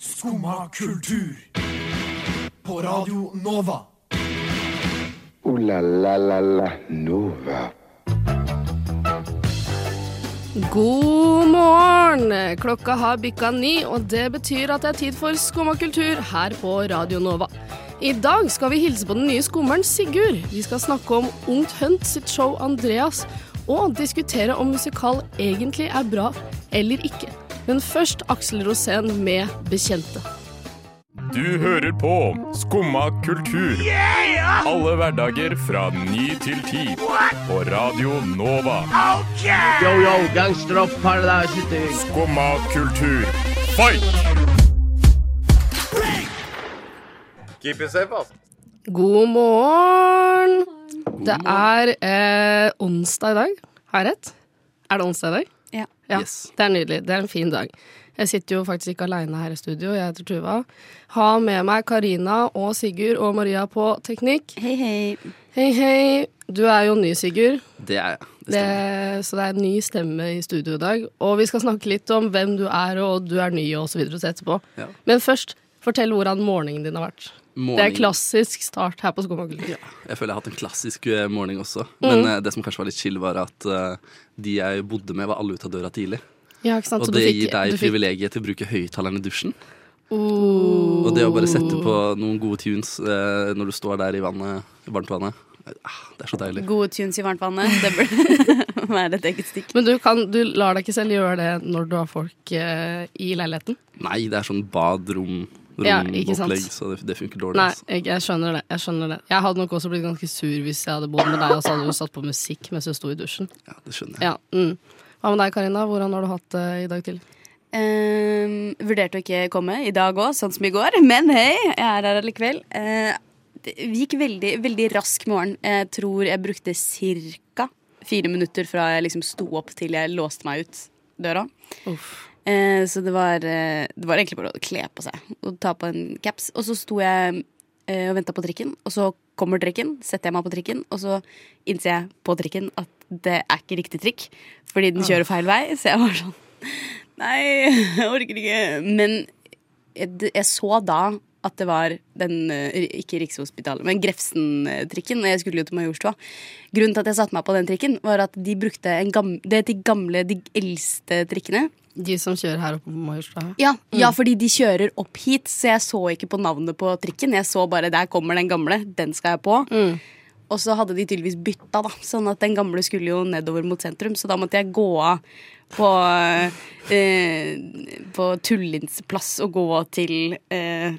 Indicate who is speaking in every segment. Speaker 1: Skumma kultur. På Radio Nova.
Speaker 2: Ooh la la la la Nova.
Speaker 3: God morgen! Klokka har bikka ni, og det betyr at det er tid for Skumma kultur her på Radio Nova. I dag skal vi hilse på den nye skummeren Sigurd. Vi skal snakke om Ungt Hunt sitt show Andreas, og diskutere om musikal egentlig er bra eller ikke. Men først Aksel Rosén med 'Bekjente'.
Speaker 4: Du hører på Skumma kultur. Alle hverdager fra ny til ti. På Radio Nova.
Speaker 5: Yo, yo, gangsterrock, paradise city.
Speaker 4: Skumma kultur. Fight!
Speaker 3: God morgen! Det er eh, onsdag i dag. Har jeg rett? Er det onsdag i dag?
Speaker 6: Ja.
Speaker 3: Det er nydelig. Det er en fin dag. Jeg sitter jo faktisk ikke aleine her i studio. Jeg heter Tuva. Har med meg Karina og Sigurd og Maria på teknikk.
Speaker 6: Hei, hei.
Speaker 3: Hei, hei. Du er jo ny, Sigurd,
Speaker 5: Det er jeg. Det
Speaker 3: det,
Speaker 5: stemmer.
Speaker 3: så det er en ny stemme i studio i dag. Og vi skal snakke litt om hvem du er, og du er ny, og så videre og så etterpå.
Speaker 5: Ja.
Speaker 3: Men først, fortell hvordan morgenen din har vært. Det er klassisk start her på Skomakultur.
Speaker 5: Jeg føler jeg har hatt en klassisk eh, morgen også.
Speaker 3: Mm.
Speaker 5: Men eh, det som kanskje var litt chill, var at eh, de jeg bodde med, var alle ute av døra tidlig.
Speaker 3: Ja, ikke sant?
Speaker 5: Og
Speaker 3: Så
Speaker 5: det
Speaker 3: du fikk,
Speaker 5: gir deg
Speaker 3: du fikk,
Speaker 5: privilegiet til å bruke høyttaleren i dusjen.
Speaker 3: Oh.
Speaker 5: Og det å bare sette på noen gode tunes eh, når du står der i vannet, i varmtvannet, ah, det er så deilig.
Speaker 6: Gode tunes i varmtvannet. Det burde være et eget stikk.
Speaker 3: Men du, kan, du lar deg ikke selv gjøre det når du har folk eh, i leiligheten?
Speaker 5: Nei, det er sånn badrom.
Speaker 3: Ja, ikke sant.
Speaker 5: romopplegg, så det, det funker dårlig.
Speaker 3: Nei,
Speaker 5: altså.
Speaker 3: jeg, jeg skjønner det. Jeg skjønner det Jeg hadde nok også blitt ganske sur hvis jeg hadde bodd med deg og så hadde du satt på musikk mens du sto i dusjen.
Speaker 5: Ja, det skjønner jeg.
Speaker 3: Ja, mm. Hva med deg, Karina? Hvordan har du hatt det i dag til?
Speaker 6: Ehm, vurderte å ikke komme i dag òg, sånn som i går. Men hei, jeg er her allikevel. Eh, det gikk veldig, veldig rask morgen. Jeg tror jeg brukte ca. fire minutter fra jeg liksom sto opp til jeg låste meg ut døra.
Speaker 3: Uff.
Speaker 6: Eh, så det var, eh, det var egentlig bare å kle på seg og ta på en caps. Og så sto jeg eh, og venta på trikken, og så kommer trikken, setter jeg meg på trikken, og så innser jeg på trikken at det er ikke riktig trikk, fordi den kjører feil vei. Så jeg var sånn Nei, jeg orker ikke. Men jeg, jeg så da at det var den, eh, ikke Rikshospitalet, men Grefsen-trikken. Og jeg skulle jo til Majorstua. Grunnen til at jeg satte meg på den trikken, var at de brukte en gam, det er de gamle, de eldste trikkene.
Speaker 3: De som kjører her oppe på Majorstua?
Speaker 6: Ja, ja, fordi de kjører opp hit, så jeg så ikke på navnet på trikken. Jeg så bare 'der kommer den gamle', den skal jeg på.
Speaker 3: Mm.
Speaker 6: Og så hadde de tydeligvis bytta, da, sånn at den gamle skulle jo nedover mot sentrum. Så da måtte jeg gå av på, eh, på Tullins plass og gå til eh,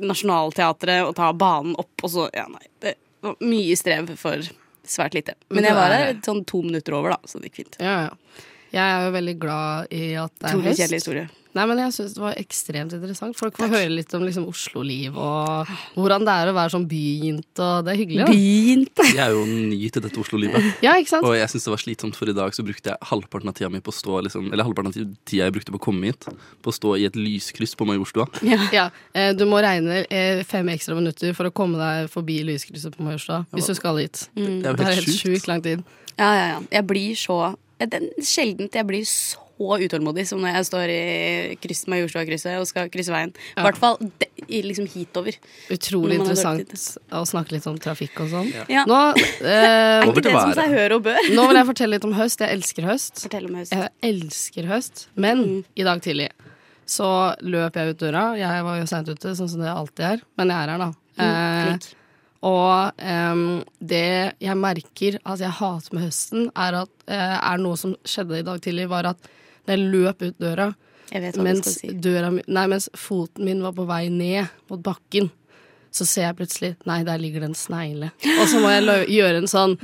Speaker 6: Nationaltheatret og ta banen opp, og så Ja, nei. Det var mye strev for svært lite.
Speaker 3: Men
Speaker 6: Men jeg
Speaker 3: du
Speaker 6: var
Speaker 3: er-
Speaker 6: her sånn to minutter over, da, så det gikk fint.
Speaker 3: Ja, ja. Jeg er jo veldig glad i at det er
Speaker 6: Utrolig kjedelig
Speaker 3: høst.
Speaker 6: historie.
Speaker 3: Nei, men jeg syns det var ekstremt interessant. Folk får høre litt om liksom, Oslo-liv og hvordan det er å være sånn byjente, og det er hyggelig. Da.
Speaker 6: Begynt!
Speaker 5: Jeg er jo ny til dette Oslo-livet.
Speaker 3: Ja, ikke sant?
Speaker 5: Og jeg synes det var slitsomt, for i dag så brukte jeg halvparten av tida mi på å stå liksom, Eller halvparten av tida jeg brukte på å komme hit, på å stå i et lyskryss på Majorstua.
Speaker 3: Ja, eh, Du må regne eh, fem ekstra minutter for å komme deg forbi lyskrysset på Majorstua. Hvis du skal dit.
Speaker 6: Mm.
Speaker 5: Det er
Speaker 3: Det
Speaker 5: jo
Speaker 3: er helt
Speaker 5: helt sjukt.
Speaker 3: sjukt lang tid.
Speaker 6: Ja, ja, ja. Jeg blir så det er Sjelden jeg blir så utålmodig som når jeg står i kryss, Majorstua-krysset og skal krysse veien. I hvert fall de- i liksom hitover.
Speaker 3: Utrolig
Speaker 6: Når man har
Speaker 3: interessant
Speaker 6: dårlig
Speaker 3: å snakke litt om trafikk og sånn.
Speaker 6: Ja.
Speaker 3: Nå, eh,
Speaker 5: Over
Speaker 6: Det
Speaker 5: til
Speaker 6: som seg
Speaker 5: været.
Speaker 6: hør og bør. Eh,
Speaker 3: nå vil jeg fortelle litt om høst. Jeg elsker høst.
Speaker 6: Fortell Mm. om høst.
Speaker 3: Jeg elsker høst, men i dag tidlig så løp jeg ut døra. Jeg var jo seint ute, sånn som det alltid er, men jeg er her, da.
Speaker 6: Mm.
Speaker 3: Eh,
Speaker 6: flink.
Speaker 3: og em, det jeg merker at jeg hater med høsten, er, at, eh, er noe som skjedde i dag tidlig, var at da jeg løp ut døra,
Speaker 6: Jeg vet hva du
Speaker 3: mens,
Speaker 6: skal si.
Speaker 3: døra, mi- nei, mens foten min var på vei ned mot bakken, så ser jeg plutselig Nei, der ligger det en snegle. Og så må jeg lø- gjøre en sånn.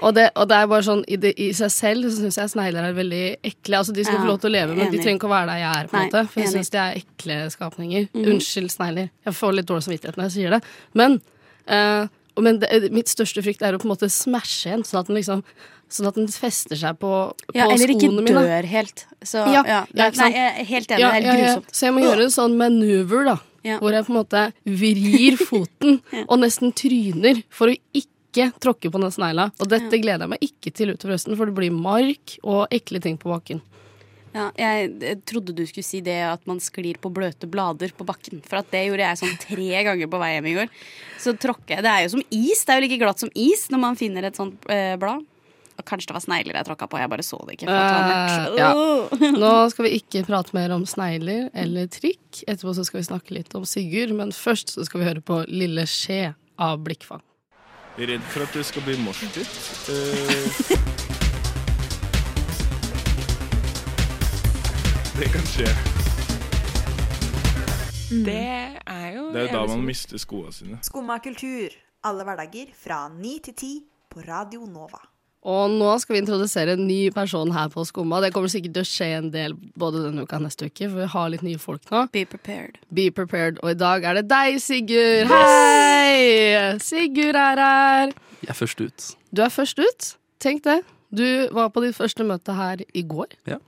Speaker 3: Og det, og det er bare sånn I, det, i seg selv så syns jeg snegler er veldig ekle. Altså, De skal
Speaker 6: Ja,
Speaker 3: få lov til å leve, men de
Speaker 6: enig.
Speaker 3: trenger ikke å være der jeg er. på en
Speaker 6: Nei,
Speaker 3: måte For jeg
Speaker 6: enig. Mhm.
Speaker 3: syns de er ekle skapninger. Unnskyld, snegler. Jeg får litt dårlig samvittighet når jeg sier det. Men, eh, og- men det, mitt største frykt er å på en måte smashe en, sånn at den liksom Sånn at den fester seg på, på
Speaker 6: Ja, eller ikke
Speaker 3: skoene mine.
Speaker 6: dør helt. Så,
Speaker 3: Ja,
Speaker 6: ja,
Speaker 3: ja, ikke
Speaker 6: nei,
Speaker 3: sant?
Speaker 6: jeg er helt enig.
Speaker 3: Ja,
Speaker 6: det
Speaker 3: ja,
Speaker 6: er
Speaker 3: ja.
Speaker 6: grusomt.
Speaker 3: Så jeg må gjøre en sånn manøver, da.
Speaker 6: Ja.
Speaker 3: Hvor jeg på en måte vrir foten og nesten tryner for å ikke tråkke på den snegla. Og dette gleder jeg meg ikke til utover høsten, for det blir mark og ekle ting på bakken.
Speaker 6: Ja, jeg eh, trodde du skulle si det at man sklir på bløte blader på bakken. For at det gjorde jeg sånn tre ganger på vei hjem i går. Så tråkka jeg Det er jo som is. Det er jo like glatt som is når man finner et sånt eh, blad. Og kanskje det var snegler jeg tråkka på. Jeg bare så det ikke. For at det var mørkt. Oh.
Speaker 3: Eh, ja. Nå skal vi ikke prate mer om snegler eller trikk. Etterpå så skal vi snakke litt om Sigurd, men først så skal vi høre på Lille Skje av Blikkfang.
Speaker 7: Redd for at det skal bli morsdytt. det kan skje.
Speaker 8: Det er jo
Speaker 7: Det er jo da man mister skoene sine.
Speaker 9: Skumma kultur. Alle hverdager fra 9 til 10 på Radio Nova.
Speaker 3: Og nå skal vi introdusere en ny person her på Skumma. Det kommer sikkert til å skje en del både denne uka og neste uke, for vi har litt nye folk nå.
Speaker 6: Be prepared.
Speaker 3: Be prepared. Og i dag er det deg, Sigurd. Hei! Sigurd er her.
Speaker 5: Jeg er først ut.
Speaker 3: Du er først ut. Tenk det. Du var på ditt første møte her i går.
Speaker 5: Ja.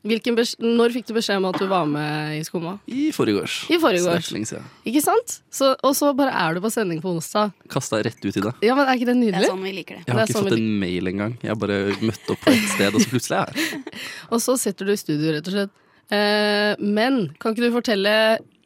Speaker 3: Hvilken besk- når fikk du beskjed om at du var med i Skumma?
Speaker 5: I forgårs.
Speaker 3: I forgårs.
Speaker 5: Så det er ikke lenge siden.
Speaker 3: Ikke sant? Så, og så bare er du på sending på onsdag.
Speaker 5: Kasta rett ut i det.
Speaker 3: Ja, men Er ikke det
Speaker 6: Det er
Speaker 3: nydelig?
Speaker 6: sånn vi liker det.
Speaker 5: Jeg har
Speaker 3: Det er
Speaker 5: ikke
Speaker 3: sånn
Speaker 5: fått
Speaker 3: vi
Speaker 5: en mail engang. Jeg har bare møtt opp på et sted, og så plutselig er jeg her.
Speaker 3: Og så sitter du i studio, rett og slett. Eh, men kan ikke du fortelle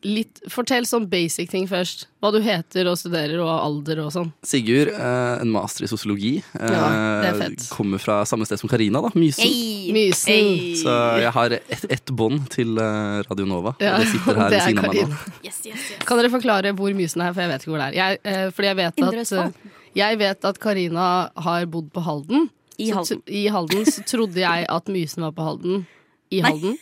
Speaker 3: litt Fortell sånn basic ting først. Hva du heter og studerer, og alder og sånn.
Speaker 5: Sigurd, eh, en master i sosiologi. eh,
Speaker 3: Ja, det er fett.
Speaker 5: Kommer fra samme sted som Karina, da. Mysen.
Speaker 6: Hey.
Speaker 3: Mysen.
Speaker 6: Hey.
Speaker 5: Så jeg har ett et bånd til eh, Radio Nova.
Speaker 3: Ja,
Speaker 5: og det sitter
Speaker 3: og
Speaker 5: her
Speaker 3: det
Speaker 5: ved
Speaker 3: er
Speaker 5: siden av meg
Speaker 3: Karina.
Speaker 5: nå.
Speaker 6: Yes, yes, yes.
Speaker 3: Kan dere forklare hvor Mysen er, for jeg vet ikke hvor det er. Jeg, eh, fordi jeg vet
Speaker 6: Indre
Speaker 3: at eh,
Speaker 6: Østfold.
Speaker 3: Jeg vet at Karina har bodd på Halden.
Speaker 6: I
Speaker 3: Så
Speaker 6: Halden.
Speaker 3: tro- I Halden så trodde jeg at Mysen var på Halden. I Halden.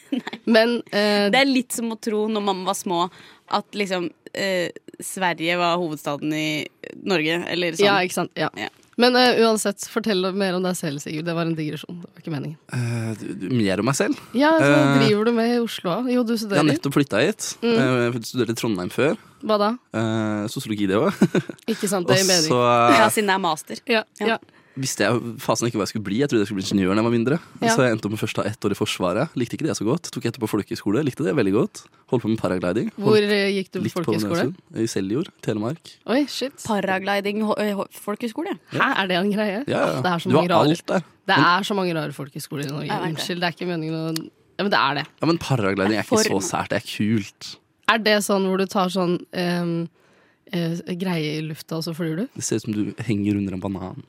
Speaker 3: Men eh,
Speaker 6: Det er litt som å tro når mamma var små, at liksom eh, Sverige var hovedstaden i Norge, eller sånn.
Speaker 3: Ja, ikke sant. Ja.
Speaker 6: Ja.
Speaker 3: Men eh, uansett, fortell mer om deg selv, Sigurd. Det var en digresjon. Det var ikke meningen.
Speaker 5: Eh, du- du- Mer om meg selv.
Speaker 3: Ja, så
Speaker 5: Eh,
Speaker 3: driver du med i Oslo? da? Jo, du
Speaker 5: Jeg har
Speaker 3: studerer.
Speaker 5: nettopp flytta hit. Mm. Studerte i Trondheim før.
Speaker 3: Hva da?
Speaker 5: Eh, Sosiologi, det òg.
Speaker 3: Ikke sant,
Speaker 5: Og
Speaker 3: det gir mening.
Speaker 5: så eh,
Speaker 6: Ja, siden det er master.
Speaker 3: Ja, ja.
Speaker 5: visste jeg fasen ikke hva jeg skulle bli. Jeg trodde jeg skulle bli ingeniør da jeg var mindre.
Speaker 3: Ja.
Speaker 5: Så jeg endte opp med først å ha ett år i Forsvaret. Likte ikke det så godt. Tok etterpå folkehøyskole. Likte det veldig godt. Holdt på med paragliding.
Speaker 3: Hvor
Speaker 5: Holdt
Speaker 3: eh, gikk du på
Speaker 5: litt på
Speaker 3: folkehøyskole?
Speaker 5: Nesodden, I Seljord, Telemark.
Speaker 3: Oi, shit.
Speaker 6: Paragliding ho- eh, ho- folkehøyskole.
Speaker 3: Hæ, er det en greie?
Speaker 5: Ja, ja.
Speaker 3: Åh, Det er så
Speaker 5: du har
Speaker 3: mange rare
Speaker 5: alt der.
Speaker 3: Det er så mange rare folkehøyskoler i Norge.
Speaker 6: Jeg vet det.
Speaker 3: Unnskyld, det er ikke meningen å Ja, men det er det.
Speaker 5: Ja, men paragliding er ikke
Speaker 6: Form.
Speaker 5: så sært. Det er kult.
Speaker 3: Er det sånn hvor du tar sånn ehm, eh, greie i lufta, og så flyr du?
Speaker 5: Det ser ut som du henger under en banan.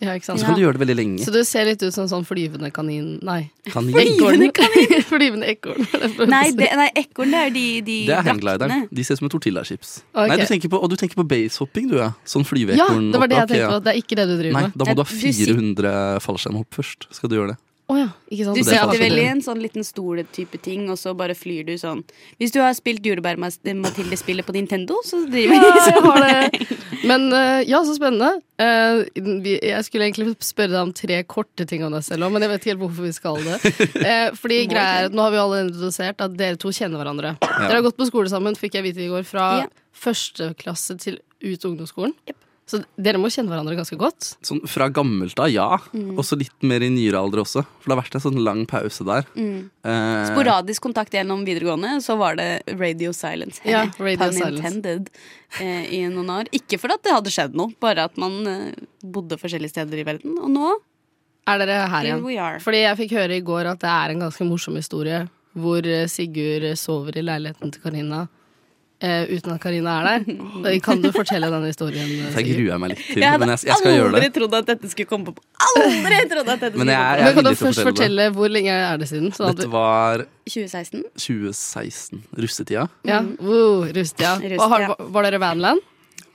Speaker 3: Ja, ikke
Speaker 5: Og
Speaker 3: sant?
Speaker 5: så kan du gjøre det veldig lenge.
Speaker 3: Så du ser litt ut som en sånn flyvende kanin Nei.
Speaker 5: Kanin.
Speaker 3: Ekorn. flyvende ekorn. var det jeg prøvde å
Speaker 6: Nei,
Speaker 3: si.
Speaker 6: det, nei ekorn, det er de, de
Speaker 5: Det er
Speaker 6: draktene.
Speaker 5: hangglideren. De ser ut som tortillachips.
Speaker 3: Ok.
Speaker 5: Nei, du tenker på, og du tenker på basehopping, du, ja. Sånn
Speaker 3: Ja,
Speaker 5: flyveekorn.
Speaker 3: det var det jeg
Speaker 5: opp- ok,
Speaker 3: tenkte
Speaker 5: ja.
Speaker 3: på. Det er ikke det du driver
Speaker 5: Nei,
Speaker 3: med.
Speaker 5: da må
Speaker 6: Nei,
Speaker 5: du ha
Speaker 6: du sit-
Speaker 5: 400 fallskjermhopp først. Skal du gjøre det?
Speaker 3: Å ja, ikke sant.
Speaker 6: Du
Speaker 5: det er
Speaker 6: sitter
Speaker 5: faktisk-
Speaker 6: vel i en sånn liten stol-type ting, og så bare flyr du sånn. Hvis du har spilt Jordbær-Mathilde-spillet på Nintendo, så driver
Speaker 3: Ja,
Speaker 6: vi
Speaker 3: jeg
Speaker 6: sånn.
Speaker 3: har det. Men eh, ja, så spennende. Eh, vi- jeg skulle egentlig spørre deg om tre korte ting om deg selv òg, men jeg vet ikke helt hvorfor vi skal det. Eh, fordi
Speaker 6: Må
Speaker 3: greia er
Speaker 6: ikke.
Speaker 3: at Nå har vi alle introdusert at dere to kjenner hverandre. Dere har gått på skole sammen, fikk jeg vite i går, fra
Speaker 6: Ja.
Speaker 3: første klasse til ut ungdomsskolen. Så dere må kjenne hverandre ganske godt.
Speaker 5: Sånn, fra gammelt av, ja.
Speaker 6: Mm.
Speaker 5: Også litt mer i nyere alder også. For det har vært en sånn lang pause der.
Speaker 6: Mm.
Speaker 5: Eh,
Speaker 6: Sporadisk kontakt gjennom videregående, så var det Radio Silence.
Speaker 3: Ja, Radio
Speaker 6: Pun
Speaker 3: Silence.
Speaker 6: intended, eh, I noen år. Ikke fordi det hadde skjedd noe, bare at man eh, bodde forskjellige steder i verden. Og nå
Speaker 3: Er dere her
Speaker 6: here
Speaker 3: igjen?
Speaker 6: we are.
Speaker 3: Fordi jeg fikk høre i går at det er en ganske morsom historie hvor eh, Sigurd sover i leiligheten til Karina eh, uten at Karina er der. Eh, Kan du fortelle den historien? eh,
Speaker 5: Det
Speaker 3: Sigurd?
Speaker 5: gruer jeg meg litt til,
Speaker 6: Jeg hadde
Speaker 5: men jeg, jeg skal gjøre
Speaker 6: aldri
Speaker 5: det.
Speaker 6: trodd at dette skulle komme på. Aldri trodd at dette
Speaker 5: Men
Speaker 6: skulle
Speaker 5: jeg
Speaker 6: komme på.
Speaker 5: er, jeg
Speaker 3: Men
Speaker 5: er
Speaker 3: kan du
Speaker 5: villig til å
Speaker 3: først
Speaker 5: fortelle det.
Speaker 3: fortelle hvor lenge er det siden? Sånn at
Speaker 5: Dette
Speaker 3: du,
Speaker 5: var
Speaker 6: 2016.
Speaker 5: 2016, russetida.
Speaker 3: ja, wow, rust, ja.
Speaker 6: Rust,
Speaker 3: Og har,
Speaker 6: ja.
Speaker 3: var dere vanland?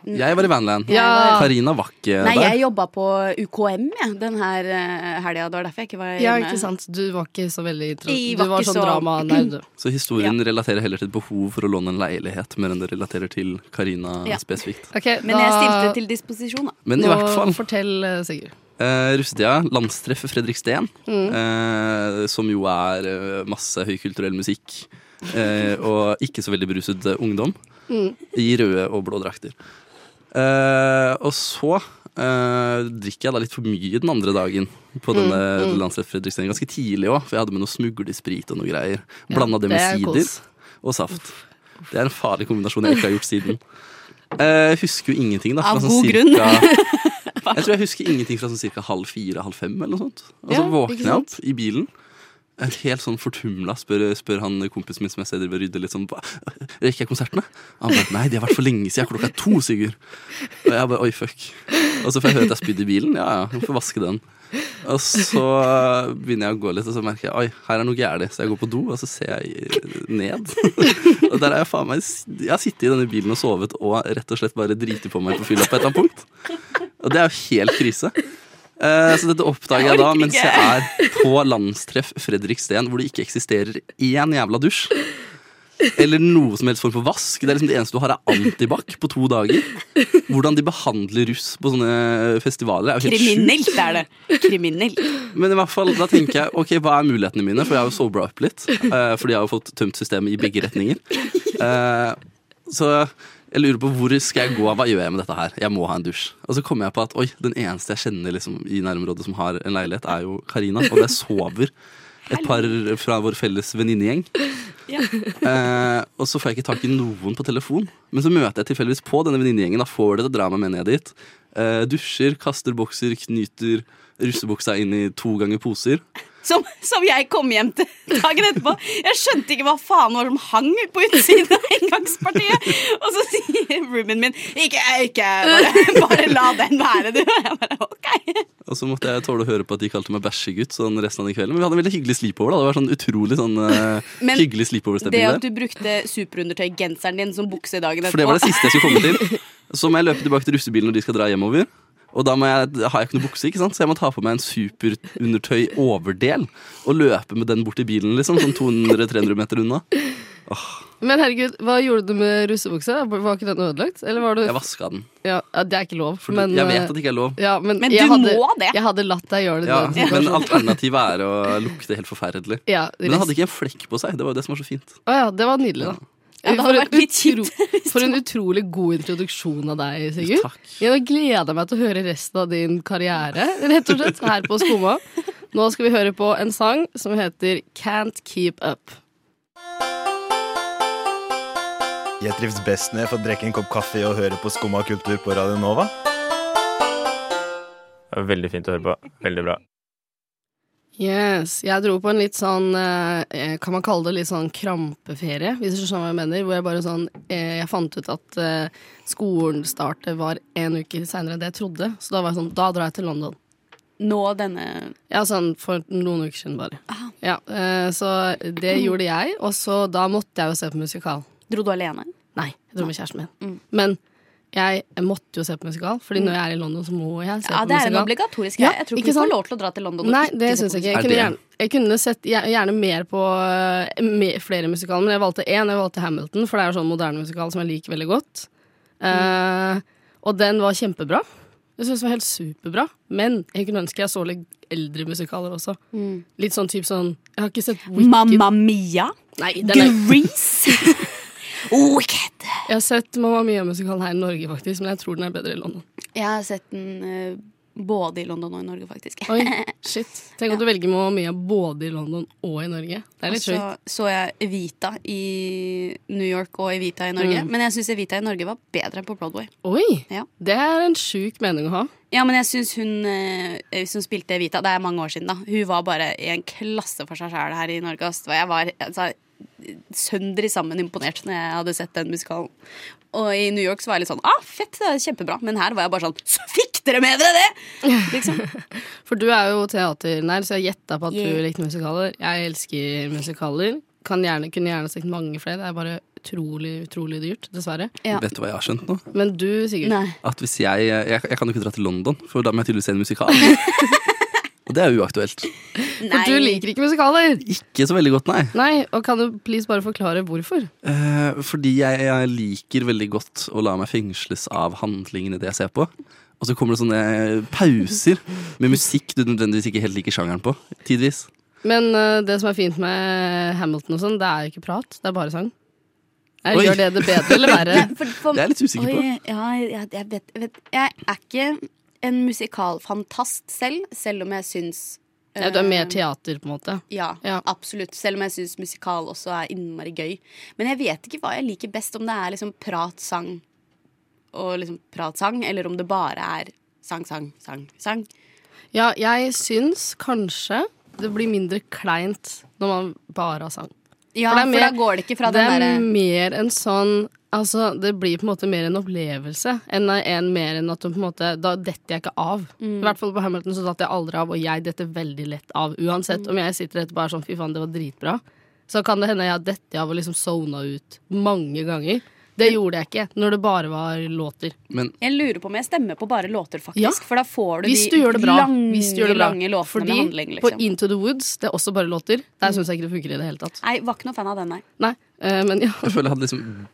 Speaker 5: Jeg var i Vanland.
Speaker 3: Ja.
Speaker 5: Karina var ikke
Speaker 6: Mm. Nei,
Speaker 5: der.
Speaker 6: jeg jobba på UKM jeg, den her eh, helga. Det var derfor jeg ikke var
Speaker 3: Ja,
Speaker 6: hjemme.
Speaker 3: ikke sant. Du var ikke så veldig tro-
Speaker 6: Jeg
Speaker 3: Du
Speaker 6: var
Speaker 3: var
Speaker 6: ikke
Speaker 3: sånn
Speaker 6: så-
Speaker 3: drama-nerd. du.
Speaker 5: Så historien relaterer heller til et behov for å låne en leilighet, mer enn det relaterer til Karina
Speaker 6: Ja.
Speaker 5: spesifikt.
Speaker 3: Ok,
Speaker 6: Men jeg stilte til disposisjon, da.
Speaker 5: Men i
Speaker 3: nå
Speaker 5: hvert fall,
Speaker 3: Fortell, eh, Sigurd.
Speaker 5: eh, russetida, landstreff Fredriksten, eh, som jo er eh, masse høykulturell musikk. Eh, og ikke så veldig beruset eh, ungdom. I røde og blå drakter. Eh, og så eh, drikker jeg da litt for mye den andre dagen på denne landstreff Fredriksten. Ganske tidlig òg, for jeg hadde med noe smuglesprit og noe greier. Blanda det med
Speaker 3: det er
Speaker 5: sider
Speaker 3: kos.
Speaker 5: og saft. Det er en farlig kombinasjon jeg ikke har gjort siden. Eh, husker jo ingenting, da.
Speaker 6: Av
Speaker 5: fra
Speaker 6: god grunn.
Speaker 5: Cirka, jeg tror jeg husker ingenting fra sånn cirka halv fire, halv fem eller noe sånt. Og så
Speaker 3: Ja, ikke
Speaker 5: våkner jeg
Speaker 3: sant?
Speaker 5: opp i bilen. En helt sånn fortumla spør, spør han kompisen min som jeg ser driver og rydder litt sånn "Hva? Rekker jeg konsertene? Han bare nei, de har vært for lenge siden. Klokka er to, Sigurd. Og jeg bare oi, fuck. Og så får jeg høre at jeg spydde i bilen. Ja ja, jeg får vaske den. Og så begynner jeg å gå litt, og så merker jeg oi, her er noe gærent. Så jeg går på do, og så ser jeg ned. Og der er jeg faen meg Jeg har sittet i denne bilen og sovet og rett og slett bare driti på meg på fylla på et eller annet punkt. Og det er jo helt krise. Eh, så dette oppdager jeg da mens jeg er på landstreff Fredriksten, hvor det ikke eksisterer én jævla dusj. Eller noe som helst form for vask. Det er liksom det eneste du har, er antibac på to dager. Hvordan de behandler russ på sånne festivaler, er jo helt sjukt.
Speaker 6: Kriminelt er det. Kriminelt.
Speaker 5: Men i hvert fall, da tenker jeg ok, hva er mulighetene mine? For jeg har jo sobra opp litt. eh, fordi jeg har jo fått tømt systemet i begge retninger. Eh, så jeg lurer på hvor skal jeg gå? Hva gjør jeg med dette her? Jeg må ha en dusj. Og så kommer jeg på at oi, den eneste jeg kjenner liksom, i nærområdet som har en leilighet, er jo Karina. Og jeg sover et par fra vår felles venninnegjeng. Eh, og så får jeg ikke tak i noen på telefon. Men så møter jeg tilfeldigvis på denne venninnegjengen. Da får det til å dra meg med ned dit. Eh, dusjer, kaster bokser, knyter russebuksa inn i to ganger poser.
Speaker 6: Som, som jeg kom hjem til dagen etterpå. Jeg skjønte ikke hva faen var som hang på utsiden av inngangspartiet. Og så sier roomien min ikke, ikke bare, bare la den være, du. Og jeg bare ok.
Speaker 5: Og så måtte jeg tåle å høre på at de kalte meg bæsjegutt sånn resten av den kvelden. Men vi hadde en veldig hyggelig sleepover. da Det var sånn utrolig sånn eh,
Speaker 6: Men
Speaker 5: hyggelig
Speaker 6: Det
Speaker 5: sleepover-stemning
Speaker 6: at
Speaker 5: der.
Speaker 6: du brukte superundertøy-genseren din som bukse dagen
Speaker 5: For det var det
Speaker 6: etterpå.
Speaker 5: siste jeg skulle komme til. Så må jeg løpe tilbake til russebilen når de skal dra hjemover. Og da må jeg, har jeg ikke noe bukse, ikke sant? så jeg må ta på meg en superundertøy-overdel og løpe med den bort til bilen, liksom, sånn 200-300 meter unna.
Speaker 3: Men herregud, hva gjorde du med russebuksa? Var ikke den ødelagt? Eller var du
Speaker 5: Jeg vaska den.
Speaker 3: ja, ja, Det er ikke lov,
Speaker 5: For
Speaker 3: men
Speaker 5: jeg vet
Speaker 3: eh,
Speaker 5: at det ikke er lov.
Speaker 3: ja, men,
Speaker 6: Men
Speaker 3: jeg
Speaker 6: du
Speaker 3: hadde,
Speaker 6: må det.
Speaker 3: Jeg hadde latt deg gjøre det. i
Speaker 5: Ja,
Speaker 3: den
Speaker 5: men
Speaker 3: situasjonen.
Speaker 5: alternativet er å lukte helt forferdelig.
Speaker 3: ja,
Speaker 5: Men den
Speaker 3: rest-
Speaker 5: hadde ikke en flekk på seg. Det var jo det som var så fint.
Speaker 3: Å ja, det var nydelig, da.
Speaker 6: Ja, det
Speaker 3: for,
Speaker 6: hadde
Speaker 3: en
Speaker 6: vært litt
Speaker 3: utro,
Speaker 6: kjipt hvis
Speaker 3: for
Speaker 6: det
Speaker 3: en utrolig god introduksjon av deg, Sigurd.
Speaker 5: Takk.
Speaker 3: Jeg gleder meg til å høre resten av din karriere, rett og slett, her på Skumma. Nå skal vi høre på en sang som heter Can't Keep Up.
Speaker 10: Jeg trives best når jeg får drikke en kopp kaffe og høre på Skumma kultur på Radio Nova.
Speaker 11: Veldig fint å høre på. Veldig bra.
Speaker 3: Yes, Jeg dro på en litt sånn eh, Kan man kalle det litt sånn krampeferie, hvis du skjønner hva jeg mener? Hvor jeg bare sånn eh, Jeg fant ut at eh, skolestartet var en uke seinere enn det jeg trodde. Så da var jeg sånn Da drar jeg til London.
Speaker 6: Nå denne
Speaker 3: Ja, sånn for noen uker siden bare. Ja, eh, så det gjorde jeg, og så da måtte jeg jo se på musikal.
Speaker 6: Dro du alene?
Speaker 3: Nei, jeg dro med kjæresten min.
Speaker 6: Mm.
Speaker 3: Men jeg måtte jo se på musikal, Fordi når jeg er i London, så må jeg se
Speaker 6: Ja,
Speaker 3: på
Speaker 6: det er en
Speaker 3: musikal.
Speaker 6: obligatorisk
Speaker 3: Ja,
Speaker 6: greie. Jeg tror
Speaker 3: ikke
Speaker 6: ikke vi
Speaker 3: sant?
Speaker 6: får lov til å dra til London. og
Speaker 3: Nei,
Speaker 6: ikke
Speaker 3: det
Speaker 6: se
Speaker 3: syns jeg
Speaker 6: på
Speaker 3: ikke. Jeg
Speaker 5: Er
Speaker 3: kunne,
Speaker 5: det-
Speaker 3: gjerne, jeg kunne sett gjer- gjerne mer på eh, me- flere musikaler, men jeg valgte én. Jeg valgte Hamilton, for det er jo sånn moderne musikal som jeg liker veldig godt. Eh, og den var kjempebra. Jeg syns den var helt superbra. Men jeg kunne ønske jeg så litt eldre musikaler også. Litt sånn type sånn Jeg har ikke sett
Speaker 6: musikal.
Speaker 3: Wicked.
Speaker 6: Mamma Mia.
Speaker 3: Nei, den er,
Speaker 6: Grease.
Speaker 3: Oh,
Speaker 6: Wicked.
Speaker 3: jeg har sett Mamma Mia-musikalen her i Norge, faktisk, men jeg tror den er bedre i London.
Speaker 6: Jeg har sett den eh, både i London og i Norge, faktisk.
Speaker 3: Oi, shit. Tenk at du velger Mamma Mia både i London og i Norge. Det er
Speaker 6: Og
Speaker 3: litt
Speaker 6: så
Speaker 3: sjukt.
Speaker 6: så jeg Evita i New York og Evita i Norge.
Speaker 3: Mm.
Speaker 6: Men jeg syns Evita i Norge var bedre enn på Broadway.
Speaker 3: Oi!
Speaker 6: Ja.
Speaker 3: Det er en sjuk mening å ha.
Speaker 6: Ja, men jeg syns hun eh, som spilte Evita, det er mange år siden, da, hun var bare i en klasse for seg sjæl her i Norge. ass. Og jeg var altså, sønder i sammen imponert når jeg hadde sett den musikalen. Og i New York så var jeg litt sånn ah, fett, det er kjempebra. Men her var jeg bare sånn så fikk dere med dere det! Liksom.
Speaker 3: For du er jo teaternær, så jeg gjetta på at
Speaker 6: Yeah.
Speaker 3: du likte musikaler. Jeg elsker musikaler. Kan gjerne, kunne gjerne sett mange flere. Det er bare utrolig, utrolig dyrt, dessverre.
Speaker 6: Ja.
Speaker 5: Vet du hva jeg har skjønt nå?
Speaker 3: Men du, Sigurd.
Speaker 6: Nei.
Speaker 5: at hvis jeg, jeg Jeg kan jo ikke dra til London, for da må jeg tydeligvis se en musikal. Og det er jo uaktuelt.
Speaker 3: For du liker ikke musikaler!
Speaker 5: Ikke så veldig godt, nei.
Speaker 3: Nei, og kan du please bare forklare hvorfor?
Speaker 5: Eh, fordi jeg, jeg liker veldig godt å la meg fengsles av handlingen i det jeg ser på. Og så kommer det sånne pauser med musikk du nødvendigvis ikke helt liker sjangeren på. Tidvis.
Speaker 3: Men eh, det som er fint med Hamilton og sånn, det er jo ikke prat, det er bare sang. Er,
Speaker 5: Oi.
Speaker 3: gjør det det bedre eller verre?
Speaker 6: For- for-
Speaker 5: Det er jeg litt usikker på.
Speaker 6: Oi, ja, jeg, jeg, vet, jeg vet Jeg er ikke en musikalfantast selv, selv om jeg syns
Speaker 3: Nei, Du er
Speaker 6: eh,
Speaker 3: mer teater, på en måte.
Speaker 6: Ja,
Speaker 3: Ja.
Speaker 6: absolutt. Selv om jeg syns musikal også er innmari gøy. Men jeg vet ikke hva jeg liker best, om det er liksom prat-sang og liksom prat-sang, eller om det bare er sang, sang, sang, sang.
Speaker 3: Ja, jeg syns kanskje det blir mindre kleint når man bare har sang.
Speaker 6: Ja, for da går det ikke fra
Speaker 3: det
Speaker 6: den
Speaker 3: er
Speaker 6: derre-
Speaker 3: mer en sånn Altså, det blir på en måte mer en opplevelse enn en, mer enn at du på en måte Da detter jeg ikke av.
Speaker 6: Mm.
Speaker 3: I hvert fall på Hamilton så datt jeg aldri av, og jeg detter veldig lett av. Uansett
Speaker 6: Mm.
Speaker 3: om jeg sitter etterpå og er sånn fy faen, det var dritbra, så kan det hende jeg har dettet av og liksom sona ut mange ganger. Det gjorde jeg ikke når det bare var låter.
Speaker 5: Men
Speaker 6: Jeg lurer på om jeg stemmer på bare låter, faktisk.
Speaker 3: Ja.
Speaker 6: For da får du
Speaker 3: Hvis du
Speaker 6: de
Speaker 3: gjør det bra.
Speaker 6: lange,
Speaker 3: Hvis du gjør det bra.
Speaker 6: lange låtene
Speaker 3: Fordi
Speaker 6: med handling.
Speaker 3: på
Speaker 6: Liksom. Mm.
Speaker 3: Into the Woods, det er også bare låter. Der syns jeg ikke det funker i det hele tatt.
Speaker 6: Nei, var ikke noe fan av den, nei.
Speaker 3: Nei, eh, men ja.
Speaker 5: Jeg føler jeg hadde liksom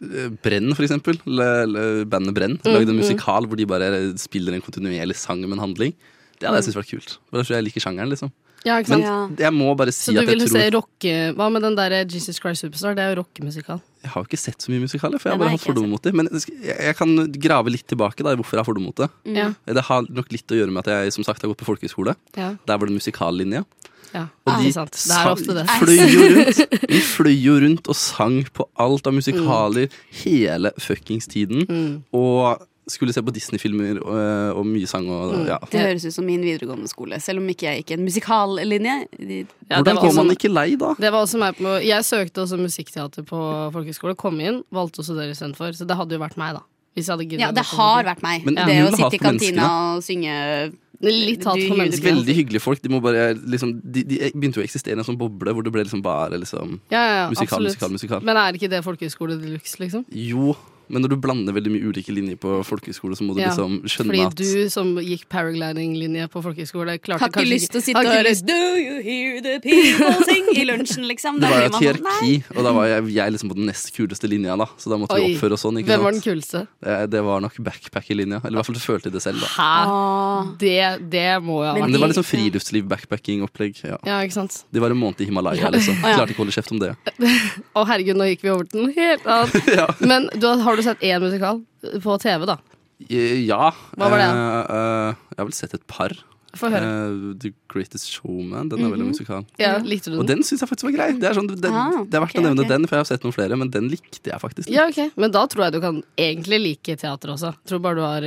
Speaker 5: eh, Brenn, for eksempel. Le- le- Bandet Brenn lagde en
Speaker 3: mm.
Speaker 5: musikal hvor de bare spiller en kontinuerlig sang med en handling. Det hadde jeg syntes vært kult. For da tror jeg jeg liker sjangeren, liksom.
Speaker 3: Ja, ikke sant?
Speaker 5: Men jeg må bare si
Speaker 3: Så du
Speaker 5: at jeg
Speaker 3: ville se
Speaker 5: tror
Speaker 3: rocke Hva med den der eh, Jesus Christ Superstar? Det er jo rockemusikal.
Speaker 5: Jeg har jo ikke sett så mye musikaler, for jeg
Speaker 3: Den
Speaker 5: bare
Speaker 3: har
Speaker 5: har
Speaker 3: ikke jeg
Speaker 5: fordommer mot dem. Men jeg skal- jeg jeg kan grave litt tilbake da, i hvorfor jeg har fordommer mot det.
Speaker 3: Ja.
Speaker 5: Det har nok litt å gjøre med at jeg som sagt har gått på folkehøyskole.
Speaker 3: Ja.
Speaker 5: Der var det musikallinje.
Speaker 3: Ja,
Speaker 5: Og
Speaker 3: ikke
Speaker 5: de
Speaker 3: sant. Det
Speaker 5: sa-
Speaker 3: er ofte det.
Speaker 5: fløy jo rundt De fløy jo rundt og sang på alt av musikaler hele fuckings tiden.
Speaker 3: Mm.
Speaker 5: Og skulle se på Disney-filmer øh, og, og mye sang og
Speaker 3: Mm.
Speaker 5: ja.
Speaker 6: Det høres ut som min videregående skole, selv om ikke jeg gikk en musikallinje. De-
Speaker 3: Ja, det var
Speaker 5: Hvordan kom
Speaker 3: også-
Speaker 5: man ikke lei da?
Speaker 3: Det var også meg på, jeg søkte også musikkteater på folkehøyskole, kom inn, valgte å studere istedenfor. Så det hadde jo vært meg, da. Hvis jeg hadde giddet
Speaker 6: Ja,
Speaker 3: å
Speaker 6: det
Speaker 3: gå på
Speaker 6: har
Speaker 3: musikk.
Speaker 6: vært meg.
Speaker 5: Men
Speaker 6: det
Speaker 5: null
Speaker 6: å
Speaker 5: hat
Speaker 6: sitte i
Speaker 5: på
Speaker 6: kantina
Speaker 5: menneskene.
Speaker 6: og synge
Speaker 3: Litt hat
Speaker 6: Du
Speaker 3: på
Speaker 6: ljuger.
Speaker 3: menneskene.
Speaker 5: Veldig hyggelige folk. De, må bare, liksom, de, de begynte jo å eksistere i en sånn boble hvor det ble liksom bare liksom,
Speaker 3: Ja, ja, ja,
Speaker 5: musikal,
Speaker 3: absolutt.
Speaker 5: musikal, musikal.
Speaker 3: Men er ikke det folkehøyskole de luxe, liksom?
Speaker 5: Jo, men når du blander veldig mye ulike linjer på folkehøyskole, så må du
Speaker 3: Ja,
Speaker 5: liksom skjønne
Speaker 3: Fordi
Speaker 5: at
Speaker 3: du som gikk paragliding-linje på folkehøyskole, klarte
Speaker 6: Har ikke
Speaker 3: kanskje
Speaker 6: lyst til å sitte
Speaker 3: Har
Speaker 6: og
Speaker 3: ikke
Speaker 6: høre
Speaker 3: lyst-
Speaker 6: Do you hear the people sing i lunsjen, liksom.
Speaker 5: Det
Speaker 6: Da
Speaker 5: var jo
Speaker 6: blir
Speaker 5: et
Speaker 6: man sånn,
Speaker 5: hierarki, og da var jeg, jeg liksom på den nest kuleste linja, da. Så da måtte vi
Speaker 3: Oi,
Speaker 5: oppføre oss sånn. Ikke
Speaker 3: Hvem var den
Speaker 5: sant?
Speaker 3: kuleste?
Speaker 5: Det, det var nok backpacker-linja. Eller i hvert fall følte jeg det selv, da.
Speaker 3: Hæ?
Speaker 6: «Nei».
Speaker 3: Det, det må jo ha
Speaker 5: Men
Speaker 3: vært
Speaker 5: det var liksom friluftsliv, backpacking-opplegg. Ja.
Speaker 3: Ja, ikke sant?
Speaker 5: De var en måned i Himalaya, liksom. Klarte ikke å holde kjeft om det.
Speaker 3: Å herregud, nå gikk vi over til noe helt annet.
Speaker 5: Ja.
Speaker 3: Men du, har- har du sett én musikal på TV, da?
Speaker 5: ja.
Speaker 3: Hva var det?
Speaker 5: Eh, eh, jeg har vel sett et par.
Speaker 3: Få høre. Mhm.
Speaker 5: Eh, The Greatest Showman, den er veldig musikal.
Speaker 3: Ja, likte du
Speaker 5: Og
Speaker 3: den?
Speaker 5: den syns jeg faktisk var grei. Det er, sånn, den,
Speaker 6: Ah,
Speaker 5: det er verdt
Speaker 6: ok,
Speaker 5: å nevne
Speaker 6: ok.
Speaker 5: den, for jeg har sett noen flere, men den likte jeg faktisk. litt.
Speaker 3: Ja, ok. Men da tror jeg du kan egentlig like teater også. Tror bare du har